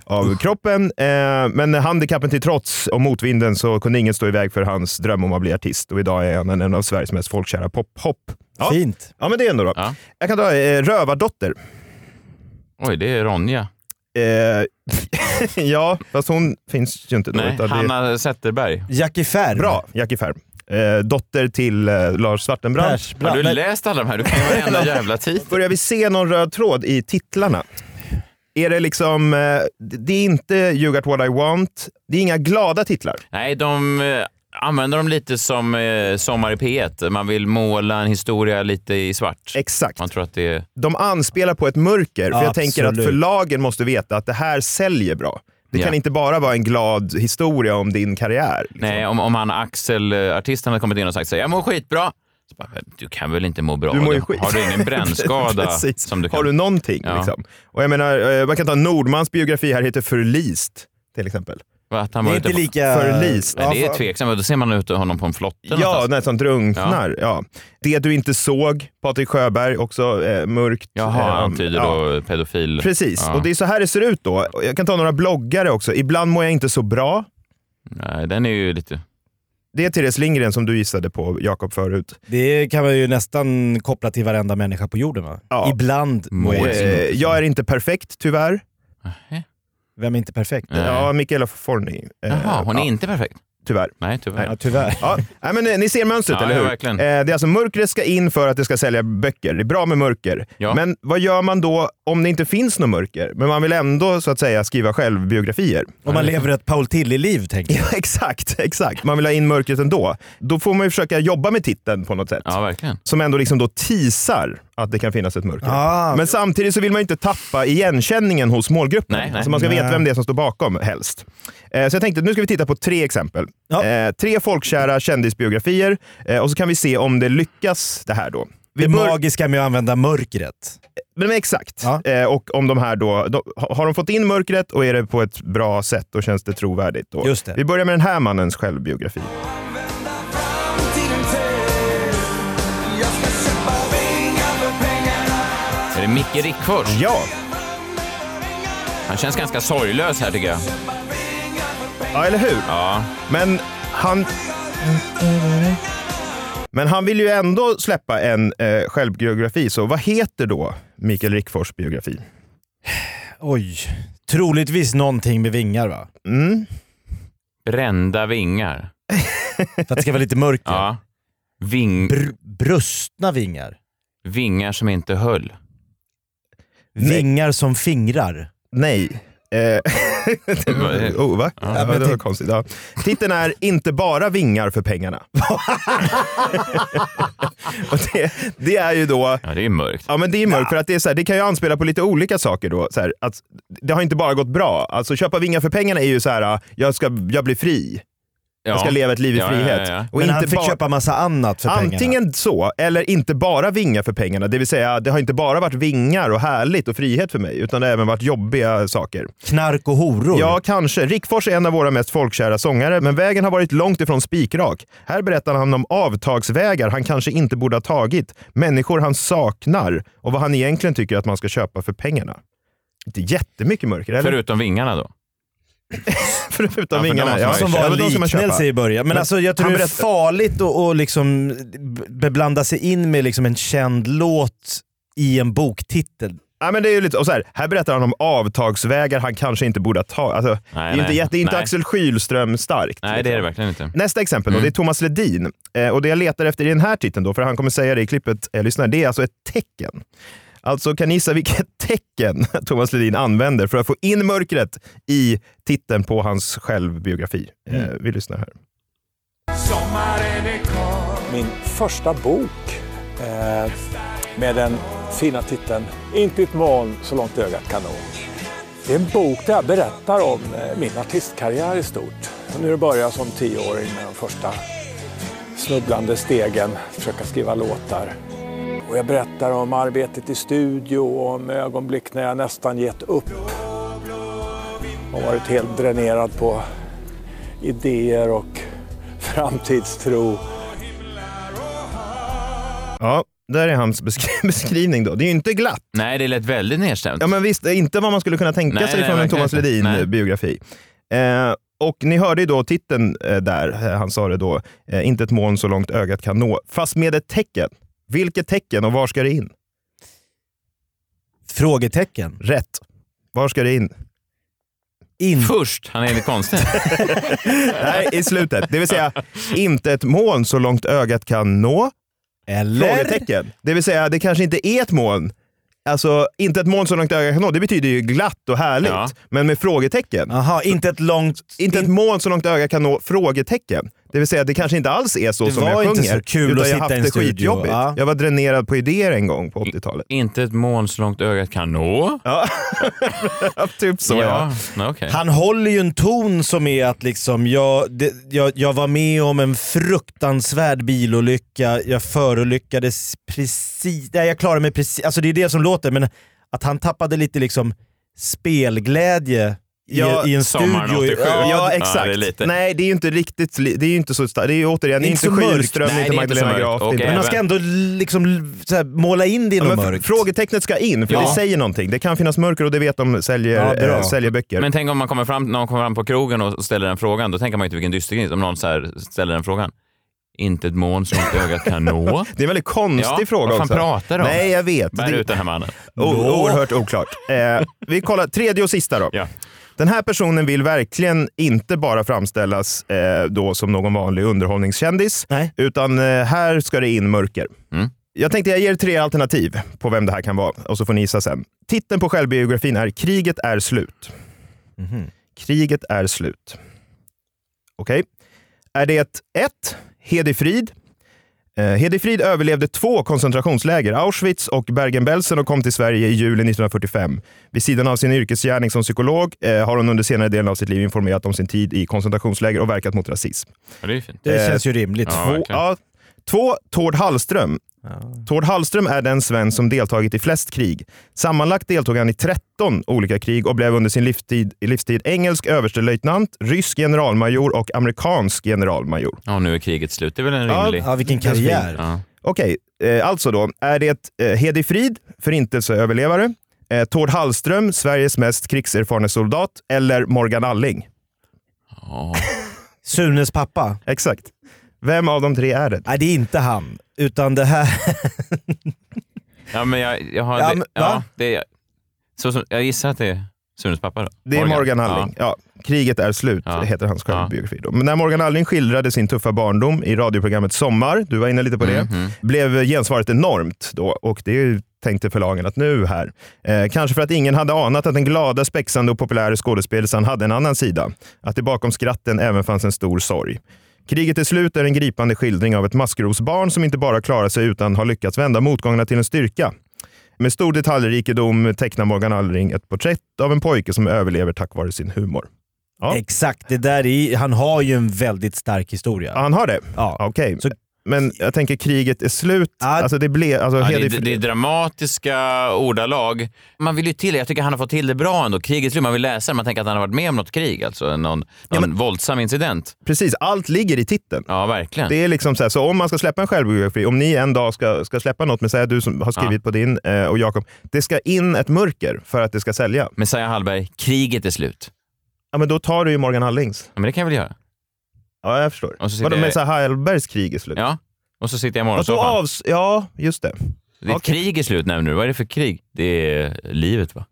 S7: av kroppen. Eh, men handikappen till trots och motvinden så kunde ingen stå i väg för hans dröm om att bli artist. Och idag är han en- en av Sveriges mest folkkära pophopp. Ja.
S8: Fint.
S7: Ja, men det är ändå då.
S5: Ja.
S7: Jag kan ta eh, Rövardotter.
S5: Oj, det är Ronja.
S7: Eh, ja, fast hon finns ju inte. då,
S5: Nej,
S7: utan det-
S5: Hanna Zetterberg.
S8: Jackie Färm.
S7: Bra,
S5: Mm.
S7: Jackie Färm. Eh, dotter till eh, Lars Svartenbrandt.
S8: Pers,
S5: Har
S8: bra.
S5: du
S8: Men-
S5: läst alla de här? Du kan ju varenda jävla titel.
S7: Börjar vi se någon röd tråd i titlarna? Är det liksom, eh, det det är inte You got what I want, det är inga glada titlar.
S5: Nej, de eh, använder dem lite som eh, Sommar i P1. Man vill måla en historia lite i svart.
S7: Exakt.
S5: Man tror att det är...
S7: De anspelar på ett mörker, för jag tänker att
S8: Absolut.
S7: förlagen måste veta att det här säljer bra. Det
S5: Ja.
S7: kan inte bara vara en glad historia om din karriär. liksom.
S5: Nej, om, om han Axel, eh, artisten, hade kommit in och sagt så här, jag mår skitbra. Så bara, du kan väl inte må bra?
S7: Du mår ju
S5: av det?
S7: skit.
S5: Har du ingen brännskada?
S7: Precis.
S5: som du kan...
S7: Har du någonting?
S5: Ja.
S7: Liksom? Och jag menar, eh, man kan ta Nordmans biografi här, heter Förlist. till exempel.
S5: Att han var ute på-
S7: Förlis.
S5: Nej, det
S7: Ja,
S5: är
S7: för-
S5: tveksamt. Då ser man ut honom på en flotte
S7: Ja,
S5: någonstans.
S7: när som drunknar. Ja. Det du inte såg, Patrik Sjöberg, också eh, mörkt.
S5: Jaha,
S7: eh,
S5: han antyder
S7: ja.
S5: då pedofil.
S7: Precis,
S5: Ja.
S7: och det är så här det ser ut då. Jag kan ta några bloggare också. Ibland mår jag inte så bra.
S5: Nej, den är ju lite...
S7: Det är Therese Lindgren som du gissade på, Jakob, förut.
S8: Det kan man ju nästan koppla till varenda människa på jorden va? Ibland mår jag
S7: Eh,
S8: inte så bra.
S7: Jag är inte perfekt, tyvärr.
S8: Vem är inte perfekt?
S7: Ja, Mikaela Forni. eh,
S8: Jaha, hon är inte
S5: perfekt?
S7: Tyvärr.
S5: Nej, tyvärr.
S8: Ja, tyvärr.
S7: Ja, nej, men eh, ni ser mönstret,
S5: Ja,
S7: eller
S5: ja,
S7: hur?
S5: verkligen.
S7: Eh, Det är alltså mörkret ska in för att det ska sälja böcker. Det är bra med mörker. Men vad gör man då om det inte finns något mörker, men man vill ändå så att säga skriva självbiografier?
S8: Om man lever ett Paul Tilly-liv tänker jag.
S7: Ja, exakt, exakt. Man vill ha in mörkret ändå. Då får man ju försöka jobba med titeln på något sätt.
S5: Ja, verkligen.
S7: Som ändå liksom då teasar att det kan finnas ett mörker.
S8: Ah.
S7: Men samtidigt så vill man ju inte tappa igenkänningen hos målgruppen.
S5: Nej, nej.
S7: Alltså man ska veta
S5: Nej.
S7: vem det är som står bakom helst. Eh, Så jag tänkte att nu ska vi titta på tre exempel. Eh, Tre folkkära kändisbiografier eh, och så kan vi se om det lyckas det här då. Vi
S8: Det
S7: bör-
S8: magiska med att använda mörkret.
S7: men, men exakt. Eh, och om de här då, de, har de fått in mörkret och är det på ett bra sätt, då känns det trovärdigt. Då.
S8: Just det.
S7: Vi börjar med den här mannens självbiografi.
S5: Är det Micke Rickfors?
S7: Ja.
S5: Han känns ganska sorglös här tycker jag.
S7: Ja, eller hur?
S5: Ja.
S7: Men han... Men han vill ju ändå släppa en eh, självbiografi, så vad heter då Mikael Rickfors biografi?
S8: Oj. Troligtvis någonting med vingar va?
S7: Mm.
S5: Brända vingar.
S8: För att det ska vara lite mörkt.
S5: Ja. Ving...
S8: brustna vingar.
S5: Vingar som inte höll.
S8: Vingar som fingrar.
S7: Nej. Eh, oh, va? Ja,
S8: men
S7: det var
S8: tänk-
S7: konstigt. Ja. Titeln är “Inte bara vingar för pengarna”. Och det, det är ju då...
S5: Ja, det är mörkt.
S7: Ja, men det är mörkt. För att det, är så här, det kan ju anspela på lite olika saker. Då, så här, att det har inte bara gått bra. Alltså, köpa vingar för pengarna är ju så här, jag, ska, jag blir fri. Jag ska
S8: Ja.
S7: leva ett liv i
S8: Ja, ja, ja,
S7: frihet.
S8: ja. Men han fick köpa massa annat för
S7: Antingen
S8: pengarna.
S7: Antingen så, eller inte bara vingar för pengarna. Det vill säga, det har inte bara varit vingar och härligt och frihet för mig, utan det har även varit jobbiga saker.
S8: Knark och horor.
S7: Ja, kanske. Rickfors är en av våra mest folkkära sångare, men vägen har varit långt ifrån spikrak. Här berättar han om avtagsvägar han kanske inte borde ha tagit, människor han saknar och vad han egentligen tycker att man ska köpa för pengarna. Inte jättemycket mörker, eller?
S5: Förutom vingarna då.
S7: Förutom
S8: Ja, för
S7: vingarna.
S8: de Som var
S7: men de ska man köpa.
S8: liknelse i början. Men, alltså, jag tror
S7: han
S8: det är
S7: berättar-
S8: farligt att att liksom beblanda sig in med liksom en känd låt i en boktitel.
S7: Ja, men det är ju lite, och så här, här berättar han om avtagsvägar han kanske inte borde ha tagit. Alltså, det är ju inte,
S5: nej.
S7: jätte, det är inte
S5: Nej.
S7: Axel liksom. Schylström-starkt.
S5: Nej, det är det verkligen inte.
S7: Nästa exempel då,
S5: Mm.
S7: det är Thomas Ledin. Eh, och det jag letar efter i den här titeln, då, för han kommer säga det i klippet, eh, lyssna, det är alltså ett tecken. Alltså kan ni gissa vilket tecken Thomas Ledin använder för att få in mörkret i titeln på hans självbiografi? Eh, vi lyssnar här.
S14: Min första bok eh, med den fina titeln Inte ett moln så långt ögat kan nå. Det är en bok där jag berättar om eh, min artistkarriär i stort. Och nu börjar jag som tioåring med de första snubblande stegen, försöka skriva låtar. Och jag berättar om arbetet i studio och om ögonblick när jag nästan gett upp. Och varit helt dränerad på idéer och framtidstro.
S7: Ja, där är hans beskri- beskrivning då. Det är ju inte glatt.
S5: Nej, det lät väldigt nedstämt.
S7: Ja, men visst, det är inte vad man skulle kunna tänka
S5: Nej,
S7: sig
S5: nej,
S7: från en
S5: verkligen
S7: Thomas
S5: inte. Nej.
S7: Ledin-biografi. Eh, och ni hörde ju då titeln eh, där, eh, han sa det då, eh, inte ett moln så långt ögat kan nå, fast med ett tecken. Vilket tecken och var ska det in?
S8: Frågetecken.
S7: Rätt. Var ska det in?
S8: in.
S5: Först, han är lite konstig.
S7: Nej, i slutet. Det vill säga, inte ett moln så långt ögat kan nå.
S8: Eller?
S7: Frågetecken. Det vill säga, det kanske inte är ett moln. Alltså, inte ett moln så långt ögat kan nå, det betyder ju glatt och härligt. Men med frågetecken.
S8: Aha, inte ett långt...
S7: Inte ett moln så långt ögat kan nå? Frågetecken. Det vill säga, det kanske inte alls är så
S8: Det
S7: som
S8: var
S7: jag sjunger.
S8: inte så kul
S7: utan
S8: att
S7: jag
S8: sitta
S7: har
S8: i
S7: haft
S8: en
S7: det
S8: studio,
S7: skitjobbigt.
S8: ja.
S7: Jag var dränerad på idéer en gång på 80-talet.
S5: inte ett moln så långt ögat kan nå.
S7: Ja, typ så, ja.
S5: ja. okej.
S8: Han håller ju en ton som är att liksom, jag, det, jag, jag var med om en fruktansvärd bilolycka, jag förolyckades precis, nej jag klarade mig precis, alltså det är det som låter, men att han tappade lite liksom spelglädje
S7: Ja,
S8: i, i en
S5: sommaren
S8: studio.
S5: 87.
S7: Ja,
S5: Ja,
S7: exakt.
S5: det är lite-
S7: Nej, det är ju inte riktigt... li- Det är ju inte så starkt. Det är ju återigen inte,
S8: så mörkt.
S7: Schylström, inte Magdalena Graaf. det är
S8: Men man ska ändå liksom så här, måla in det i
S7: Ja,
S8: något
S7: men
S8: mörkt.
S7: Frågetecknet ska in, för
S5: Ja.
S7: det säger någonting. Det kan finnas mörker och det vet de säljer,
S8: Ja, bra.
S7: eh, säljer böcker.
S5: Men tänk om man kommer fram, någon kommer fram på krogen och ställer den frågan. Då tänker man ju inte vilken dystergris. Om någon så här ställer den frågan. Inte ett moln som inte ögat kan nå.
S7: Det är en väldigt konstig
S5: Ja,
S7: fråga
S5: vad fan
S7: också.
S5: pratar du om?
S7: Nej, jag vet.
S5: Bär
S7: Det-
S5: ut den här mannen.
S7: O- oerhört oklart. Eh, vi kollar tredje och sista då. Den här personen vill verkligen inte bara framställas eh, då som någon vanlig underhållningskändis, utan eh, här ska det in mörker. Jag tänkte jag ger tre alternativ på vem det här kan vara och så får ni gissa sen. Titeln på självbiografin är “Kriget är slut”. Kriget är slut. Okej. Är det 1. Hedi Frid. Eh, Hedi Frid överlevde två koncentrationsläger, Auschwitz och Bergen-Belsen och kom till Sverige i juli 1945. Vid sidan av sin yrkesgärning som psykolog eh, har hon under senare delen av sitt liv informerat om sin tid i koncentrationsläger och verkat mot rasism.
S5: Ja, det är ju fint.
S7: Eh, Två, ja, två Tord Hallström. Tord Hallström är den svensk som deltagit i flest krig. Sammanlagt deltog han i 13 olika krig och blev under sin livstid, livstid engelsk överstelöjtnant, rysk generalmajor och amerikansk generalmajor.
S5: Ja, nu är kriget slut. Det är väl en
S7: Ja,
S5: rimlig...
S7: ja, vilken karriär.
S5: Ja.
S7: Okej, eh, alltså då. Är det eh, Hedi Frid, förintelseöverlevare, eh, Tord Hallström, Sveriges mest krigserfarne soldat eller Morgan Alling?
S8: Sunes pappa.
S7: Exakt. Vem av de tre är det?
S8: Nej, det är inte han. Utan det här...
S5: Ja, men jag, jag har...
S8: Ja,
S5: Ja,
S8: men-
S5: det,
S8: va?
S5: ja, det är, så, som- jag gissar att det är Sunes pappa då.
S7: Det är Morgan Alling. Ja. Kriget är slut, heter hans självbiografi. då. Men när Morgan Alling skildrade sin tuffa barndom i radioprogrammet Sommar, du var inne lite på det, blev gensvaret enormt då och det tänkte förlagen att nu här. Eh, kanske för att ingen hade anat att den glada, spexande och populära skådespelerskan hade en annan sida. Att det bakom skratten även fanns en stor sorg. Kriget är slut är en gripande skildring av ett maskrosbarn som inte bara klarar sig utan har lyckats vända motgångarna till en styrka. Med stor detaljrikedom tecknar Morgan Alling ett porträtt av en pojke som överlever tack vare sin humor.
S8: Exakt, det där är, han har ju en väldigt stark historia.
S7: Han har det? Ja. Okej. Men jag tänker kriget är slut. Alltså det blev... Alltså,
S5: Ja, det,
S7: Hedi-
S5: är, det är dramatiska ordalag. Man vill ju till Jag tycker han har fått till det bra ändå. Kriget är slut. Man vill läsa det. Man tänker att han har varit med om något krig. Alltså någon, någon våldsam incident.
S7: Precis, allt ligger i titeln.
S5: Ja, verkligen.
S7: Det är liksom så, här, så om man ska släppa en självbiografi, om ni en dag ska, ska släppa något, men säg att du som har skrivit på din eh, och Jakob, det ska in ett mörker för att det ska sälja.
S5: Messiah Hallberg, kriget är slut.
S7: Ja, men då tar du ju Morgan Allings.
S5: Ja, men det kan jag väl göra.
S7: Ja, jag förstår.
S5: Och så sitter
S7: Vadå,
S5: jag-
S7: Messiah Hallbergs krig är slut?
S5: Ja, och så sitter jag i
S7: Och så
S5: morgonsoffan.
S7: avs- ja just det.
S5: Det är ett krig är slut nämner du. Vad är det för krig? Det är livet va?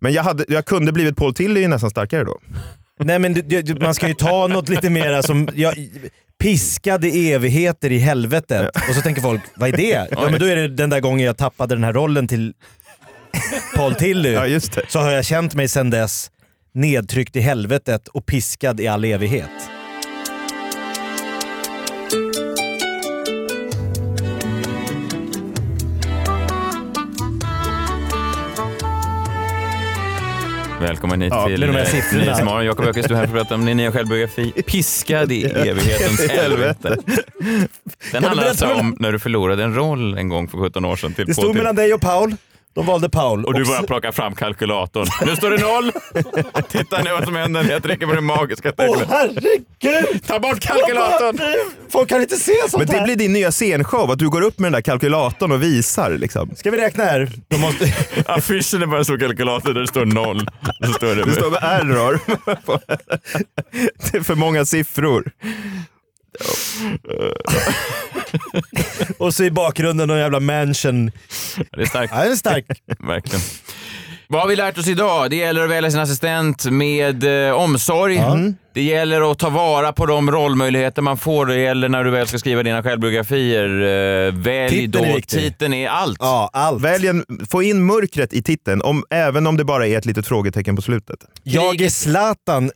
S7: Men jag, hade, jag kunde blivit Paul Tilly är ju nästan starkare då.
S8: Nej men du, du, du, man ska ju ta något lite mera som... Jag, piskade evigheter i helvetet. Och så tänker folk, vad är det? Ja, men då är det den där gången jag tappade den här rollen till Paul Tilly. Så har jag känt mig sedan dess nedtryckt i helvetet och piskad i all evighet.
S5: Välkommen hit
S8: Ja,
S5: till
S8: med de här
S5: eh,
S8: siffrorna.
S5: Nyhetsmorgon. Jakob Öqvist, du är här för att prata om din nya självbiografi Piskad i evighetens helvete. Den
S8: du
S5: handlar alltså
S8: berätta om-
S5: om när du förlorade en roll en gång för 17 år sedan till
S8: Det
S5: Paul
S8: stod
S5: Tilly.
S8: mellan dig och Paul. De valde Paul.
S5: Och du
S8: s-
S5: bara plockar fram kalkylatorn. Nu står det noll! Titta nu vad som händer när jag trycker på den magiska
S8: Åh
S5: tecknet.
S8: herregud!
S5: Ta bort kalkylatorn!
S8: Folk kan inte se sånt
S7: Men det
S8: här.
S7: blir din nya scenshow, att du går upp med den där kalkylatorn och visar. Liksom.
S8: Ska vi räkna här? De måste...
S5: Affischen är bara en stor kalkylator där det står noll. Så står det,
S7: Det står med error. det är för många siffror.
S8: och så i bakgrunden någon jävla mansion.
S5: Det är starkt.
S8: Ja, det är stark.
S5: Verkligen. Vad har vi lärt oss idag? Det gäller att välja sin assistent med eh, omsorg.
S7: Mm.
S5: Det gäller att ta vara på de rollmöjligheter man får. Det gäller när du väl ska skriva dina självbiografier. Eh, välj
S7: Titeln är
S5: då.
S7: viktig.
S5: titeln är allt.
S8: Ja, allt.
S7: Välj en, få in mörkret i titeln, om, även om det bara är ett litet frågetecken på slutet.
S8: Jag är Zlatan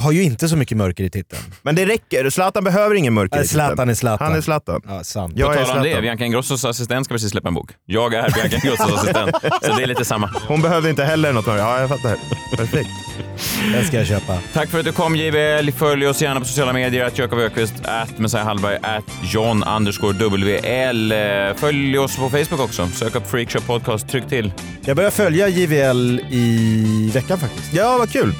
S8: har ju inte så mycket mörker i titeln.
S7: Men det räcker, Zlatan behöver ingen mörker i
S8: Nej,
S7: titeln.
S8: Zlatan är Zlatan.
S7: Han är Zlatan.
S8: Ja, sant.
S5: På
S7: Jag är
S5: tal om det,
S7: Zlatan.
S5: Bianca Ingrossos assistent ska precis släppa en bok. Jag är Bianca Ingrossos assistent, så det är lite samma.
S7: Hon behövde inte heller något mörker. Ja, jag fattar. Perfekt.
S8: Den ska jag köpa.
S5: Tack för att du kom JVL. Följ oss gärna på sociala medier, att Jakob Öqvist, att Messiah Hallberg, att John underscore WL. Eh, Följ oss på Facebook också. Sök upp Freakshow Podcast, tryck till.
S8: Jag börjar följa JVL i veckan faktiskt.
S7: Ja, vad kul!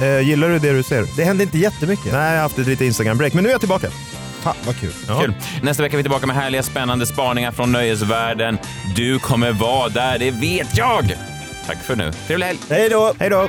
S7: Eh, gillar du det du ser?
S8: Det hände inte jättemycket.
S7: Nej, jag har haft ett litet Instagram-break, men nu är jag tillbaka.
S8: Fan vad kul.
S5: Kul. Nästa vecka är vi tillbaka med härliga spännande spaningar från nöjesvärlden. Du kommer vara där, det vet jag! Tack för nu. Trevlig helg!
S8: Hej då!
S7: Hej då!